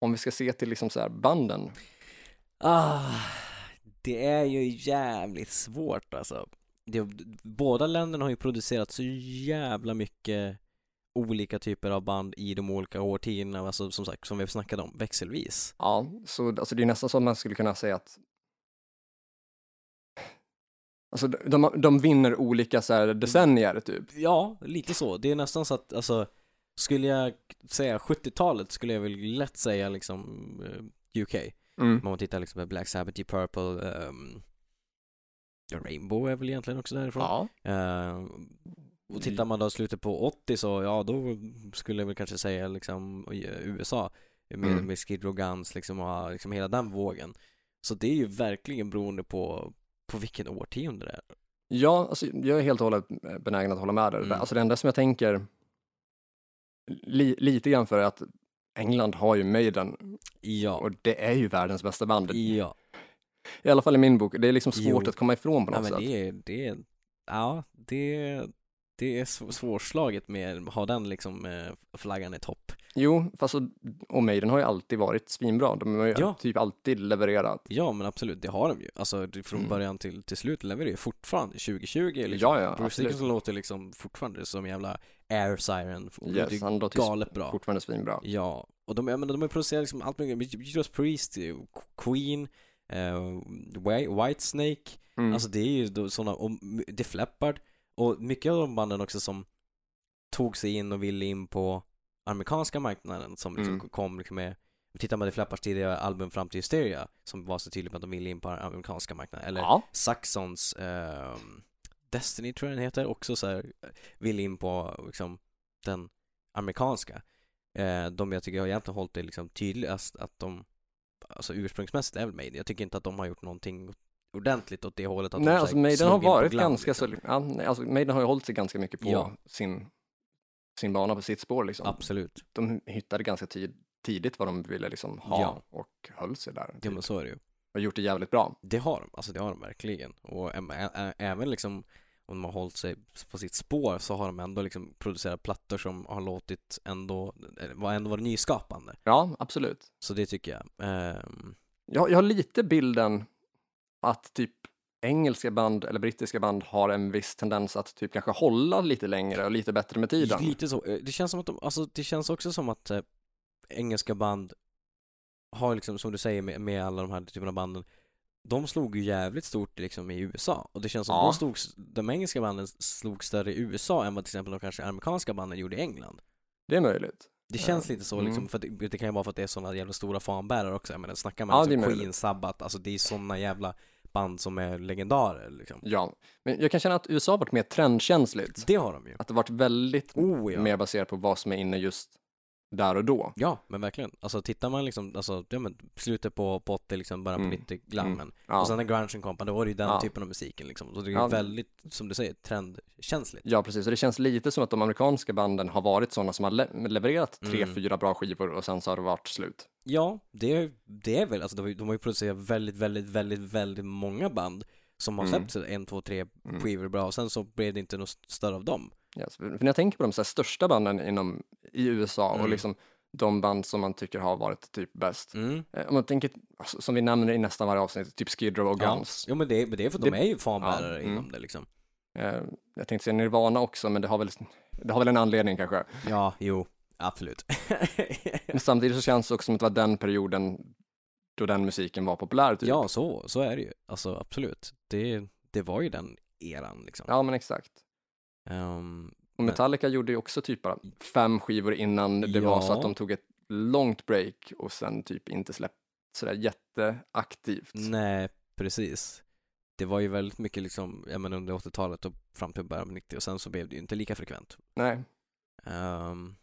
Speaker 1: om vi ska se till liksom så här banden,
Speaker 2: Ah, det är ju jävligt svårt alltså. Det, båda länderna har ju producerat så jävla mycket olika typer av band i de olika årtiondena, alltså som sagt, som vi snackade om, växelvis.
Speaker 1: ja, så alltså, det är nästan som man skulle kunna säga att Alltså de, de vinner olika så här decennier typ.
Speaker 2: Ja, lite så. Det är nästan så att, alltså, skulle jag säga 70-talet skulle jag väl lätt säga liksom eh, UK.
Speaker 1: Mm.
Speaker 2: Om man tittar liksom på Black Sabbath, Deep Purple, ehm, Rainbow är väl egentligen också därifrån.
Speaker 1: Ja.
Speaker 2: Eh, och
Speaker 1: Mm.
Speaker 2: tittar man då i slutet på 80 så, ja då skulle jag väl kanske säga liksom eh, USA med,
Speaker 1: Mm.
Speaker 2: med Skid Row Guns liksom och ha liksom hela den vågen. Så det är ju verkligen beroende på, på vilken årtionde det är.
Speaker 1: Ja, alltså, jag är helt och hållet eh, benägen att hålla med dig.
Speaker 2: Mm.
Speaker 1: Alltså, det enda som jag tänker li, lite grann för är att England har ju Maiden
Speaker 2: Ja.
Speaker 1: och det är ju världens bästa band. I,
Speaker 2: Ja.
Speaker 1: alla fall i min bok. Det är liksom
Speaker 2: Jo.
Speaker 1: svårt att komma ifrån på
Speaker 2: Ja
Speaker 1: något
Speaker 2: men
Speaker 1: sätt.
Speaker 2: det är, det är, ja det, det är sv- svårslaget med att ha den liksom eh, flaggan i topp.
Speaker 1: Jo, fast så, och Maiden har ju alltid varit svinbra. De har ju
Speaker 2: Ja.
Speaker 1: typ alltid levererat.
Speaker 2: Ja men absolut, det har de ju. Alltså det- från
Speaker 1: Mm.
Speaker 2: början till, till slut levererar ju fortfarande 2020 liksom.
Speaker 1: Ja, ja,
Speaker 2: Bruce
Speaker 1: absolut.
Speaker 2: Dickinson låter liksom fortfarande som jävla air siren. Och det
Speaker 1: Yes,
Speaker 2: är
Speaker 1: han låter ju
Speaker 2: galet bra.
Speaker 1: fortfarande svinbra.
Speaker 2: Ja, och de, jag menar, de har ju producerat liksom allt möjligt. Judas Priest, Queen, eh, Whi- Whitesnake.
Speaker 1: Mm.
Speaker 2: Alltså det är ju då sådana, och m- Def Leppard. Och mycket av de banden också som tog sig in och ville in på amerikanska marknaden som liksom
Speaker 1: Mm.
Speaker 2: kom liksom med Tittar man på Def Leppards tidigare album fram till Hysteria som var så tydligt med att de ville in på amerikanska marknaden. Eller
Speaker 1: ja.
Speaker 2: Saxons ehm, Destiny tror jag den heter, också så här, vill in på liksom, den amerikanska. Eh, de jag tycker har egentligen hållit det liksom tydligast att de, alltså ursprungsmässigt är väl Maiden. Jag tycker inte att de har gjort någonting ordentligt åt det hållet. Att
Speaker 1: Nej,
Speaker 2: de, så
Speaker 1: alltså
Speaker 2: här,
Speaker 1: Maiden
Speaker 2: slog
Speaker 1: har
Speaker 2: in på
Speaker 1: varit
Speaker 2: glam,
Speaker 1: ganska
Speaker 2: liksom.
Speaker 1: så, ja, nej, alltså Maiden har ju hållit sig ganska mycket på
Speaker 2: Ja.
Speaker 1: sin, sin bana, på sitt spår liksom.
Speaker 2: Absolut,
Speaker 1: de hittade ganska tid, tidigt vad de ville liksom ha
Speaker 2: Ja.
Speaker 1: och höll sig där.
Speaker 2: ja,
Speaker 1: Typ.
Speaker 2: men så är det ju.
Speaker 1: Och gjort det jävligt bra.
Speaker 2: Det har de, alltså det har de verkligen. Och äm- ä- ä- även liksom om de har hållit sig på sitt spår så har de ändå liksom producerat plattor som har låtit ändå, eller var ändå varit nyskapande.
Speaker 1: Ja, absolut.
Speaker 2: Så det tycker jag. Ehm,
Speaker 1: Jag, jag har lite bilden att typ engelska band eller brittiska band har en viss tendens att typ kanske hålla lite längre och lite bättre med tiden.
Speaker 2: lite så. Eh, Det känns som att de, alltså det känns också som att eh, engelska band har liksom, som du säger med, med alla de här typerna av banden, de slog ju jävligt stort liksom i USA och det känns som
Speaker 1: Ja.
Speaker 2: de, slog, de engelska banden slog större i USA än vad till exempel de kanske amerikanska banden gjorde i England.
Speaker 1: Det är möjligt.
Speaker 2: Det känns lite så liksom,
Speaker 1: Mm.
Speaker 2: för att det, det kan ju vara för att det är sådana jävla stora fanbärare också. Jag menar, snacka med
Speaker 1: Ja,
Speaker 2: alltså,
Speaker 1: det är möjligt.
Speaker 2: Queen, Sabbath, alltså det är sådana jävla band som är legendarer liksom.
Speaker 1: Ja, men jag kan känna att USA har varit mer trendkänsligt.
Speaker 2: Det har de ju.
Speaker 1: Att det har varit väldigt
Speaker 2: Oh ja.
Speaker 1: mer baserat på vad som är inne just där och då.
Speaker 2: Ja, men verkligen. Alltså tittar man liksom, alltså, ja, men slutet på, på 80, liksom, början på
Speaker 1: Mm.
Speaker 2: 90, glammen.
Speaker 1: Ja,
Speaker 2: Och sen när grungen kom, då var det ju den
Speaker 1: Ja.
Speaker 2: typen av musiken liksom. Så det är ju
Speaker 1: Ja.
Speaker 2: väldigt, som du säger, trendkänsligt.
Speaker 1: ja precis. Och det känns lite som att de amerikanska banden har varit sådana som har le- levererat tre,
Speaker 2: Mm.
Speaker 1: fyra bra skivor och sen så har det varit slut.
Speaker 2: Ja, det är, det är väl, alltså de har ju- de har ju producerat väldigt, väldigt, väldigt, väldigt många band som har
Speaker 1: Mm.
Speaker 2: släppt en, två, tre
Speaker 1: Mm.
Speaker 2: skivor bra och sen så blev det inte något större av dem.
Speaker 1: Yes. För för när jag tänker på de så här största banden inom, i USA och
Speaker 2: Mm.
Speaker 1: liksom de band som man tycker har varit typ bäst.
Speaker 2: Mm.
Speaker 1: Eh, Om man tänker, alltså, som vi nämner i nästan varje avsnitt, typ Skid Row och
Speaker 2: Ja.
Speaker 1: Guns.
Speaker 2: Jo men det, men det är för att de
Speaker 1: Det-
Speaker 2: är ju fanbärare
Speaker 1: Ja, mm.
Speaker 2: inom det liksom.
Speaker 1: Eh, Jag tänkte säga Nirvana också, men det har väl, det har väl en anledning kanske.
Speaker 2: Ja, jo, absolut.
Speaker 1: Men samtidigt så känns det också som att det var den perioden då den musiken var populär. Typ.
Speaker 2: ja, så, så är det ju. Alltså absolut. Det, det var ju den eran liksom.
Speaker 1: ja, men exakt.
Speaker 2: Ehm,
Speaker 1: Och Metallica gjorde ju också typ bara fem skivor innan det var så
Speaker 2: Ja.
Speaker 1: att de tog ett långt break och sen typ inte släppt sådär jätteaktivt.
Speaker 2: nej, precis. Det var ju väldigt mycket liksom, ja men under 80-talet och fram till början av 90 och sen så blev det ju inte lika frekvent.
Speaker 1: Nej.
Speaker 2: Ehm,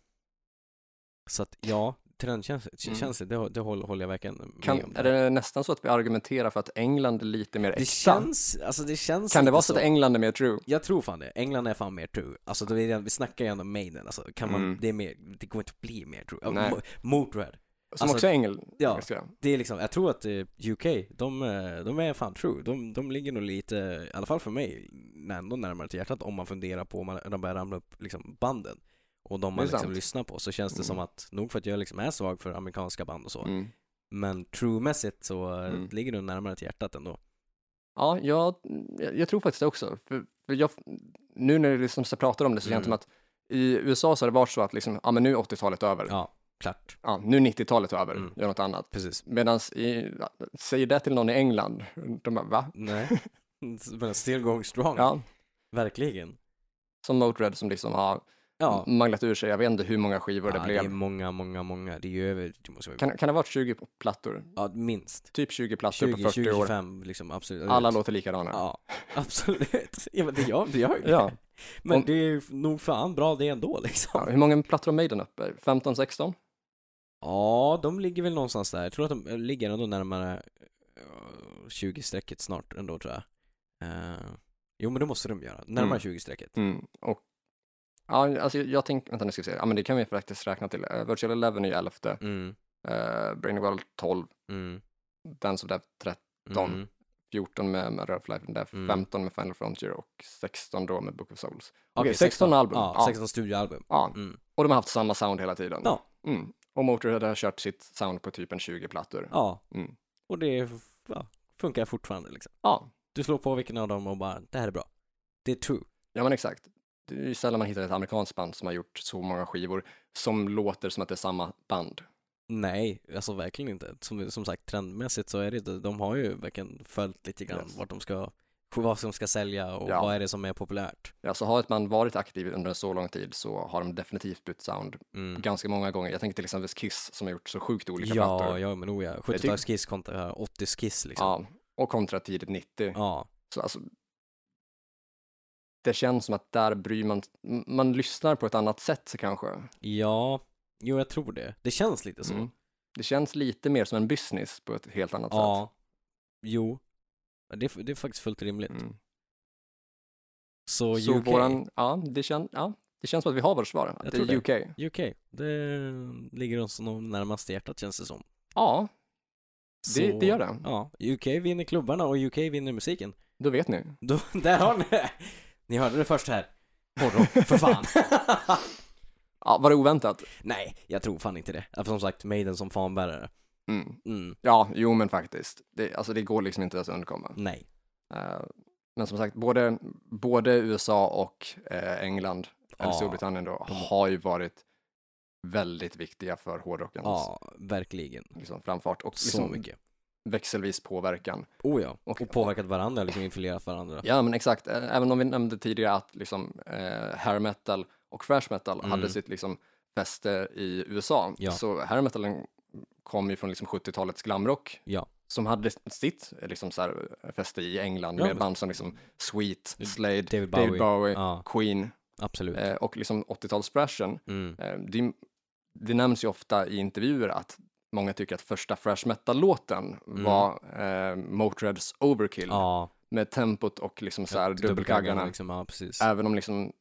Speaker 2: så att ja, trendkänsligt,
Speaker 1: Mm.
Speaker 2: känsligt, det, hå- det håller, håller jag verkligen med om.
Speaker 1: Kan, är det nästan så att vi argumenterar för att England är lite mer
Speaker 2: det
Speaker 1: äkta?
Speaker 2: känns, alltså det känns
Speaker 1: Kan det
Speaker 2: lite
Speaker 1: vara så att England är mer true?
Speaker 2: Jag tror fan det, England är fan mer true. Alltså då är det, vi snackar ju ändå om Maiden, alltså kan man,
Speaker 1: Mm.
Speaker 2: det är mer, det går inte att bli mer true. Ja,
Speaker 1: Nej.
Speaker 2: Mo- Motörhead,
Speaker 1: Som
Speaker 2: Alltså,
Speaker 1: också är England?
Speaker 2: ja.
Speaker 1: ska jag-
Speaker 2: det är liksom, jag tror att eh, UK, de, eh, de är fan true. De, de ligger nog lite, i alla fall för mig, när- ändå närmare till hjärtat om man funderar på, om man när man börjar ramla upp liksom banden och de
Speaker 1: Det
Speaker 2: man
Speaker 1: är
Speaker 2: liksom
Speaker 1: sant.
Speaker 2: lyssnar på så känns det
Speaker 1: Mm.
Speaker 2: som att, nog för att jag liksom är svag för amerikanska band och så,
Speaker 1: Mm.
Speaker 2: Men true-mässigt så eh,
Speaker 1: Mm.
Speaker 2: ligger du närmare till hjärtat ändå.
Speaker 1: Ja, jag, jag, jag tror faktiskt det också. För, för jag, nu när vi liksom så pratar om det så känns det som
Speaker 2: Mm.
Speaker 1: att i USA så har det varit så att liksom, ja men nu är 80-talet över. Ja.
Speaker 2: Ja, klart.
Speaker 1: nu är 90-talet över,
Speaker 2: Mm.
Speaker 1: gör något annat.
Speaker 2: Precis.
Speaker 1: Medan i, ja, säger det till någon i England, de bara va?
Speaker 2: Nej. Men still going strong.
Speaker 1: Ja,
Speaker 2: Verkligen.
Speaker 1: som Motörhead som liksom har
Speaker 2: Ja.
Speaker 1: manglat ur sig, jag vet inte hur många skivor det
Speaker 2: ja, det är
Speaker 1: blev.
Speaker 2: många, många, många. Det är ju över, det måste vara,
Speaker 1: Kan, kan det ha varit 20 plattor?
Speaker 2: ja, minst.
Speaker 1: Typ 20 plattor
Speaker 2: 20,
Speaker 1: på 40 år.
Speaker 2: 25 liksom, absolut.
Speaker 1: Alla låter likadana.
Speaker 2: Ja, absolut. Ja, men det gör, det gör ju det.
Speaker 1: Ja.
Speaker 2: Men
Speaker 1: Om-
Speaker 2: det är ju nog fan bra det ändå liksom.
Speaker 1: ja. Hur många plattor har Maiden uppe? 15, 16?
Speaker 2: Ja, de ligger väl någonstans där. Jag tror att de eh, ligger ändå närmare 20-strecket snart ändå tror jag. Eh, jo, men det måste de göra.
Speaker 1: Mm.
Speaker 2: Närmare 20-strecket.
Speaker 1: Mm. Och, ja, alltså jag tänker, vänta nu ska vi se, ja men det kan vi faktiskt räkna till. Eh, Virtual Eleven är ju 11,
Speaker 2: Mm,
Speaker 1: uh, Brain of World 12,
Speaker 2: mm,
Speaker 1: Dance of Death 13, Don.
Speaker 2: mm.
Speaker 1: 14 med, med Red Life and Death,
Speaker 2: Mm.
Speaker 1: 15 med Final Frontier och 16 då med Book of Souls.
Speaker 2: Okej,
Speaker 1: 16 album.
Speaker 2: Ja,
Speaker 1: Ja.
Speaker 2: 16 studioalbum.
Speaker 1: Ja,
Speaker 2: Mm.
Speaker 1: och de har haft samma sound hela tiden.
Speaker 2: Ja.
Speaker 1: Mm. Och Motorhead har kört sitt sound på typ en 20 plattor.
Speaker 2: Ja,
Speaker 1: Mm.
Speaker 2: och det är- ja, funkar fortfarande liksom.
Speaker 1: Ja,
Speaker 2: Du slår på vilken av dem och bara, det här är bra. Det är true.
Speaker 1: ja men exakt. Det är ju sällan man hittar ett amerikanskt band som har gjort så många skivor som låter som att det är samma band.
Speaker 2: Nej, alltså verkligen inte. Som, som sagt, trendmässigt så är det inte. De har ju verkligen följt lite grann
Speaker 1: Yes.
Speaker 2: vart de ska, vad som ska sälja och
Speaker 1: Ja.
Speaker 2: vad är det som är populärt.
Speaker 1: Ja, så Alltså, har ett band varit aktiv under en så lång tid så har de definitivt bytt sound
Speaker 2: Mm.
Speaker 1: ganska många gånger. Jag tänker till exempel Kiss som har gjort så sjukt olika
Speaker 2: Ja,
Speaker 1: plattor.
Speaker 2: ja men oh ja. 70-talskiss kontra 80-skiss liksom.
Speaker 1: Ja, och kontra tidigt 90.
Speaker 2: Ja.
Speaker 1: Så alltså, det känns som att där bryr man, man lyssnar på ett annat sätt så kanske.
Speaker 2: ja, jo jag tror det. Det känns lite så.
Speaker 1: Mm. Det känns lite mer som en business på ett helt annat
Speaker 2: Ja, jo. Det är, det är faktiskt fullt rimligt.
Speaker 1: sätt. Mm.
Speaker 2: Så,
Speaker 1: Så
Speaker 2: UK,
Speaker 1: våran, ja det, kän, ja, det känns som att vi har vårt svar, att
Speaker 2: Jag
Speaker 1: det
Speaker 2: tror det.
Speaker 1: är UK.
Speaker 2: UK, det ligger oss nog närmast hjärtat känns det som.
Speaker 1: Ja,
Speaker 2: Så,
Speaker 1: det, det gör det.
Speaker 2: Ja, UK vinner klubbarna och UK vinner musiken.
Speaker 1: Då vet ni.
Speaker 2: Då, där har ni det! Ni hörde det först här. Hårdrock, för fan.
Speaker 1: Ja, var det oväntat?
Speaker 2: Nej, jag tror fan inte det. Ja, Som sagt, Maiden som fanbärare.
Speaker 1: Mm.
Speaker 2: Mm,
Speaker 1: Ja, jo men faktiskt. Det, alltså det går liksom inte att undkomma.
Speaker 2: nej.
Speaker 1: Eh, men som sagt, både, både USA och eh, England, eller
Speaker 2: Ja.
Speaker 1: Storbritannien då, har ju varit väldigt viktiga för hårdrockens
Speaker 2: Ja, verkligen.
Speaker 1: liksom, framfart och
Speaker 2: Så
Speaker 1: liksom,
Speaker 2: mycket.
Speaker 1: växelvis påverkan.
Speaker 2: Oh ja,
Speaker 1: Och-
Speaker 2: och påverkat varandra, liksom influerat varandra.
Speaker 1: Ja, men exakt. Ä- Även om vi nämnde tidigare att liksom, eh, hair metal och thrash metal
Speaker 2: Mm.
Speaker 1: hade sitt liksom, fester i USA.
Speaker 2: Ja.
Speaker 1: Så hair metalen kom ju från liksom 70-talets glamrock
Speaker 2: Ja.
Speaker 1: som hade sitt eh, liksom så här, fäste i England
Speaker 2: Ja,
Speaker 1: med
Speaker 2: men-
Speaker 1: band som liksom Sweet, Slade,
Speaker 2: David
Speaker 1: David
Speaker 2: Bowie.
Speaker 1: Bowie,
Speaker 2: Ja,
Speaker 1: Queen
Speaker 2: absolut.
Speaker 1: eh, och liksom 80-talsfreshen.
Speaker 2: Mm.
Speaker 1: Eh, det, det nämns ju ofta i intervjuer att många tycker att första fresh metal-låten
Speaker 2: Mm.
Speaker 1: var eh, Motörheads Overkill
Speaker 2: Ja,
Speaker 1: med tempot och liksom så här
Speaker 2: dubbelkaggarna
Speaker 1: dubbelkaggarna.
Speaker 2: liksom. Ja, precis.
Speaker 1: Även om liksom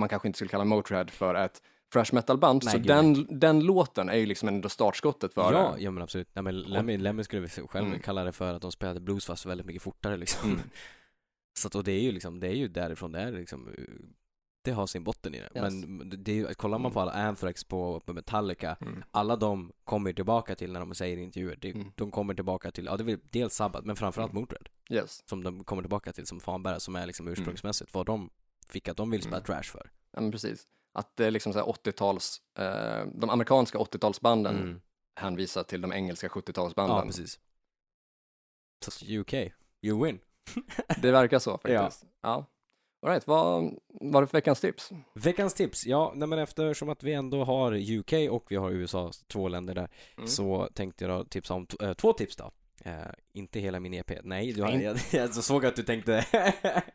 Speaker 1: man kanske inte skulle kalla Motörhead för ett fresh metal-band,
Speaker 2: Nej,
Speaker 1: så
Speaker 2: gud,
Speaker 1: den, den låten är ju liksom ändå startskottet för
Speaker 2: Ja,
Speaker 1: det.
Speaker 2: ja men absolut. Nej, men Lemmy, Lemmy skulle vi själv
Speaker 1: Mm.
Speaker 2: kalla det för att de spelade blues fast väldigt mycket fortare liksom.
Speaker 1: Mm.
Speaker 2: Så att, och det är ju liksom, det är ju därifrån det är liksom, eh, det har sin botten i det.
Speaker 1: Yes.
Speaker 2: Men det är ju, kollar man på alla Anthrax på, på Metallica,
Speaker 1: Mm.
Speaker 2: alla de kommer ju tillbaka till när de säger i intervjuer, de,
Speaker 1: Mm.
Speaker 2: de kommer tillbaka till, ja det är väl dels Sabbath men framförallt mm. Motörhead
Speaker 1: Yes.
Speaker 2: som de kommer tillbaka till som fanbärare som är liksom ursprungsmässigt vad de fick att de vill spela
Speaker 1: Mm.
Speaker 2: trash för.
Speaker 1: Ja, men precis. Att det är liksom så här 80-tals, eh, de amerikanska 80-talsbanden
Speaker 2: Mm.
Speaker 1: hänvisar till de engelska
Speaker 2: Ja
Speaker 1: 70-talsbanden.
Speaker 2: precis. Så att UK, you win.
Speaker 1: det verkar så faktiskt. Ja. All right, vad var det för veckans tips?
Speaker 2: Veckans tips, ja, nej men eftersom att vi ändå har UK och vi har USA, två länder där,
Speaker 1: Mm.
Speaker 2: så tänkte jag då tipsa om t- eh, två tips då. Eh, inte hela min EP, nej, du har,
Speaker 1: Nej.
Speaker 2: jag, jag såg att du tänkte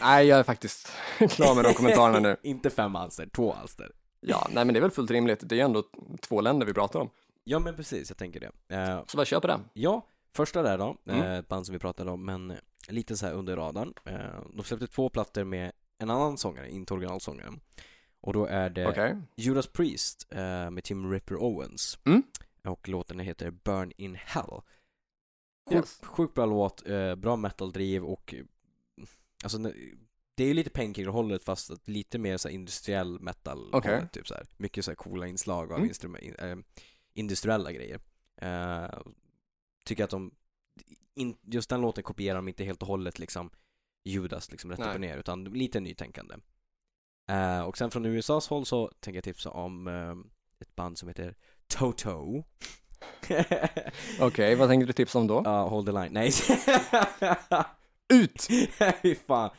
Speaker 1: Nej, jag är faktiskt klar med de kommentarerna nu.
Speaker 2: inte fem alster, två alster.
Speaker 1: Ja, nej men det är väl fullt rimligt. Det är ju ändå två länder vi pratar om.
Speaker 2: Ja men precis, jag tänker det. Eh,
Speaker 1: Så bara köper det.
Speaker 2: Ja, första där då,
Speaker 1: Mm.
Speaker 2: eh, ett band som vi pratade om, men lite så här under radarn. Eh, De släppte två plattor med en annan sångare, inte originalsångaren. Och då är det
Speaker 1: Okej.
Speaker 2: Judas Priest eh, med Tim Ripper Owens.
Speaker 1: Mm.
Speaker 2: Och låten heter Burn in Hell. Sjukt
Speaker 1: Yes.
Speaker 2: sjukt bra låt, eh, bra metal-driv och eh, alltså ne- det är ju lite Painkiller-hållet fast att lite mer så här industriell metal
Speaker 1: Okej.
Speaker 2: typ så här. Mycket så här coola inslag av
Speaker 1: Mm.
Speaker 2: instrument, in, eh, industriella grejer. Eh, tycker att de, in, just den låten kopierar de inte helt och hållet liksom Judas liksom rätt upp
Speaker 1: Nej.
Speaker 2: och ner utan lite nytänkande. Eh, och sen från USAs håll så tänker jag tipsa om eh, ett band som heter Toto.
Speaker 1: Okej, vad tänkte du tipsa om då?
Speaker 2: Ja, hold the line. Nej.
Speaker 1: Ut!
Speaker 2: Fy fan.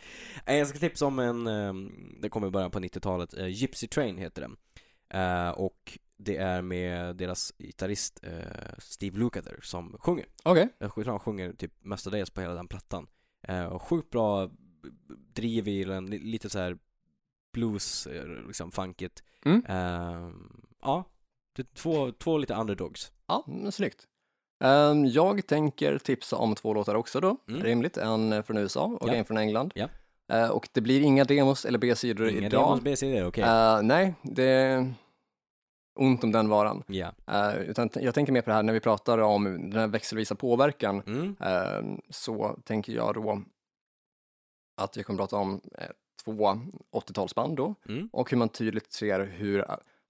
Speaker 2: Nej, Jag ska tipsa om en, ehm, det kommer i början på 90-talet, eh, Gypsy Train heter den. Eh, Och det är med deras gitarrist eh, Steve Lukather som sjunger.
Speaker 1: Okej.
Speaker 2: Jag tror han sjunger typ mestadels på hela den plattan. Eh, och Sjukt bra b- b- driv i den, li- lite så här blues, eh, liksom funkigt.
Speaker 1: Mm.
Speaker 2: Ehm, ja, det är två, två lite underdogs.
Speaker 1: Ja, men snyggt. Ehm, jag tänker tipsa om två låtar också då,
Speaker 2: Mm.
Speaker 1: rimligt. En eh, från USA och
Speaker 2: Ja.
Speaker 1: en från England.
Speaker 2: Ja.
Speaker 1: Eh, och det blir inga demos eller B-sidor
Speaker 2: Inga
Speaker 1: idag.
Speaker 2: demos, BCD, okej.
Speaker 1: Eh, nej, det är ont om den varan.
Speaker 2: Ja.
Speaker 1: Eh, utan t- jag tänker mer på det här när vi pratar om den här växelvisa påverkan,
Speaker 2: Mm.
Speaker 1: eh, så tänker jag då att jag kommer prata om eh, två 80-talsband då,
Speaker 2: Mm.
Speaker 1: och hur man tydligt ser hur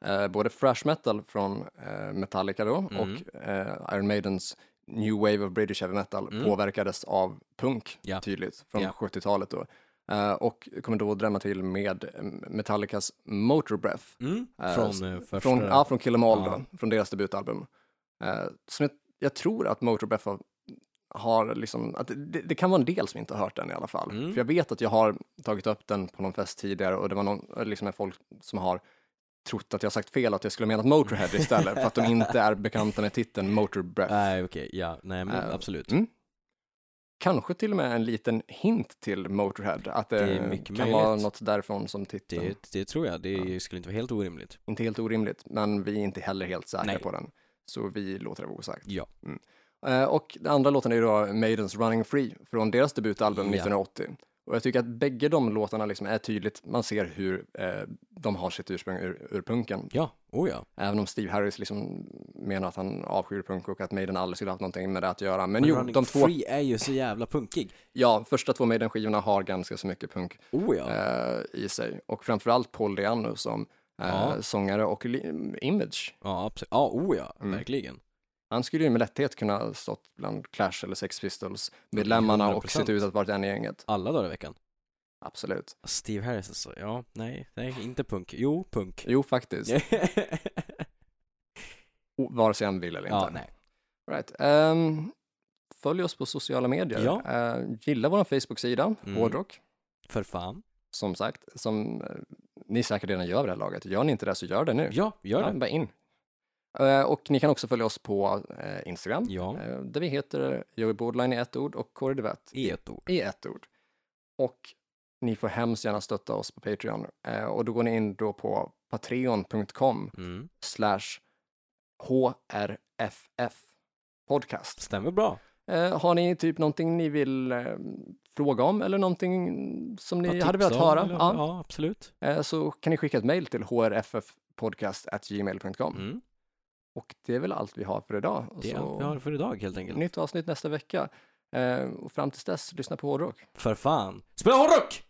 Speaker 1: eh, både fresh metal från eh, Metallica då
Speaker 2: Mm.
Speaker 1: och eh, Iron Maidens New Wave of British Heavy Metal
Speaker 2: Mm.
Speaker 1: påverkades av punk
Speaker 2: Ja.
Speaker 1: tydligt från
Speaker 2: Ja.
Speaker 1: 70-talet då. Eh, och kommer då drämma till med eh, Metallicas Motor Breath
Speaker 2: Mm.
Speaker 1: Eh, s-
Speaker 2: Från eh, första...
Speaker 1: från, ja, från Kill 'Em All
Speaker 2: Ja.
Speaker 1: då, från deras debutalbum. Eh, som jag, jag tror att Motor Breath har, har liksom, att det, det kan vara en del som inte har hört den i alla fall.
Speaker 2: Mm.
Speaker 1: För jag vet att jag har tagit upp den på någon fest tidigare och det var någon, liksom folk som har trott att jag har sagt fel, att jag skulle ha menat Motorhead istället, för att de inte är bekanta med titeln Motor Breath.
Speaker 2: Nej okej, ja, nej men
Speaker 1: Eh,
Speaker 2: absolut.
Speaker 1: mm. Kanske till och med en liten hint till Motorhead, att det,
Speaker 2: Det är mycket
Speaker 1: kan vara
Speaker 2: möjligt.
Speaker 1: något därifrån som titeln.
Speaker 2: Det, det tror jag, det skulle inte vara helt orimligt.
Speaker 1: Inte helt orimligt, men vi är inte heller helt säkra
Speaker 2: Nej.
Speaker 1: på den. Så vi låter det vara osagt.
Speaker 2: Ja.
Speaker 1: Eh, Och den andra låten är ju då Maidens Running Free från deras debutalbum
Speaker 2: Ja.
Speaker 1: 1980. Och jag tycker att bägge de låtarna liksom är tydligt, man ser hur eh, de har sitt ursprung ur, ur punken.
Speaker 2: Ja, oh ja.
Speaker 1: Även om Steve Harris liksom menar att han avskyr punk och att Maiden aldrig skulle haft någonting med det att göra. Men, jo,
Speaker 2: Running
Speaker 1: de två,
Speaker 2: Free är ju så jävla punkig.
Speaker 1: ja, första två Maiden-skivorna har ganska så mycket punk
Speaker 2: Oh ja.
Speaker 1: eh, i sig. Och framförallt Paul Diano som eh,
Speaker 2: Ja.
Speaker 1: sångare och li- image.
Speaker 2: Ja, absolut. Ja, oh ja,
Speaker 1: Mm.
Speaker 2: verkligen.
Speaker 1: Han skulle ju med lätthet kunna ha stått bland Clash eller Sex Pistols medlemmarna och
Speaker 2: 100%.
Speaker 1: sett ut att vara en i gänget.
Speaker 2: Alla dagar i veckan.
Speaker 1: Absolut.
Speaker 2: Steve Harris alltså, ja, nej, nej, inte punk. Jo, punk.
Speaker 1: Jo, faktiskt. O- Vare sig han vill eller inte.
Speaker 2: ja, nej.
Speaker 1: Right. Ehm, följ oss på sociala medier.
Speaker 2: Ja.
Speaker 1: Ehm, gilla vår Facebook-sida,
Speaker 2: Mm.
Speaker 1: Hårdrock,
Speaker 2: För fan.
Speaker 1: som sagt, som eh, ni säkert redan gör vid det här laget. Gör ni inte det så gör det nu.
Speaker 2: Ja, gör
Speaker 1: Ja,
Speaker 2: det.
Speaker 1: bara in. Eh, Och ni kan också följa oss på eh, Instagram,
Speaker 2: Ja,
Speaker 1: eh, där vi heter Joey Bordline i ett ord och Kåre Duvett
Speaker 2: i ett ord.
Speaker 1: i ett ord. Och ni får hemskt gärna stötta oss på Patreon. Eh, Och då går ni in då på patreon.com
Speaker 2: Mm.
Speaker 1: slash HRFF podcast.
Speaker 2: Stämmer bra.
Speaker 1: Eh, har ni typ någonting ni vill eh, fråga om eller någonting som ni
Speaker 2: Ja,
Speaker 1: hade
Speaker 2: tips
Speaker 1: velat
Speaker 2: om,
Speaker 1: höra?
Speaker 2: eller-
Speaker 1: Ja.
Speaker 2: ja, absolut.
Speaker 1: Eh, så kan ni skicka ett mejl till hrffpodcast.gmail.com.
Speaker 2: Mm.
Speaker 1: Och det är väl allt vi har för idag. Och
Speaker 2: Det är allt vi har för idag helt enkelt.
Speaker 1: Nytt avsnitt nästa vecka. Eh, och fram tills dess, lyssna på hårdrock.
Speaker 2: För fan. Spela hårdrock!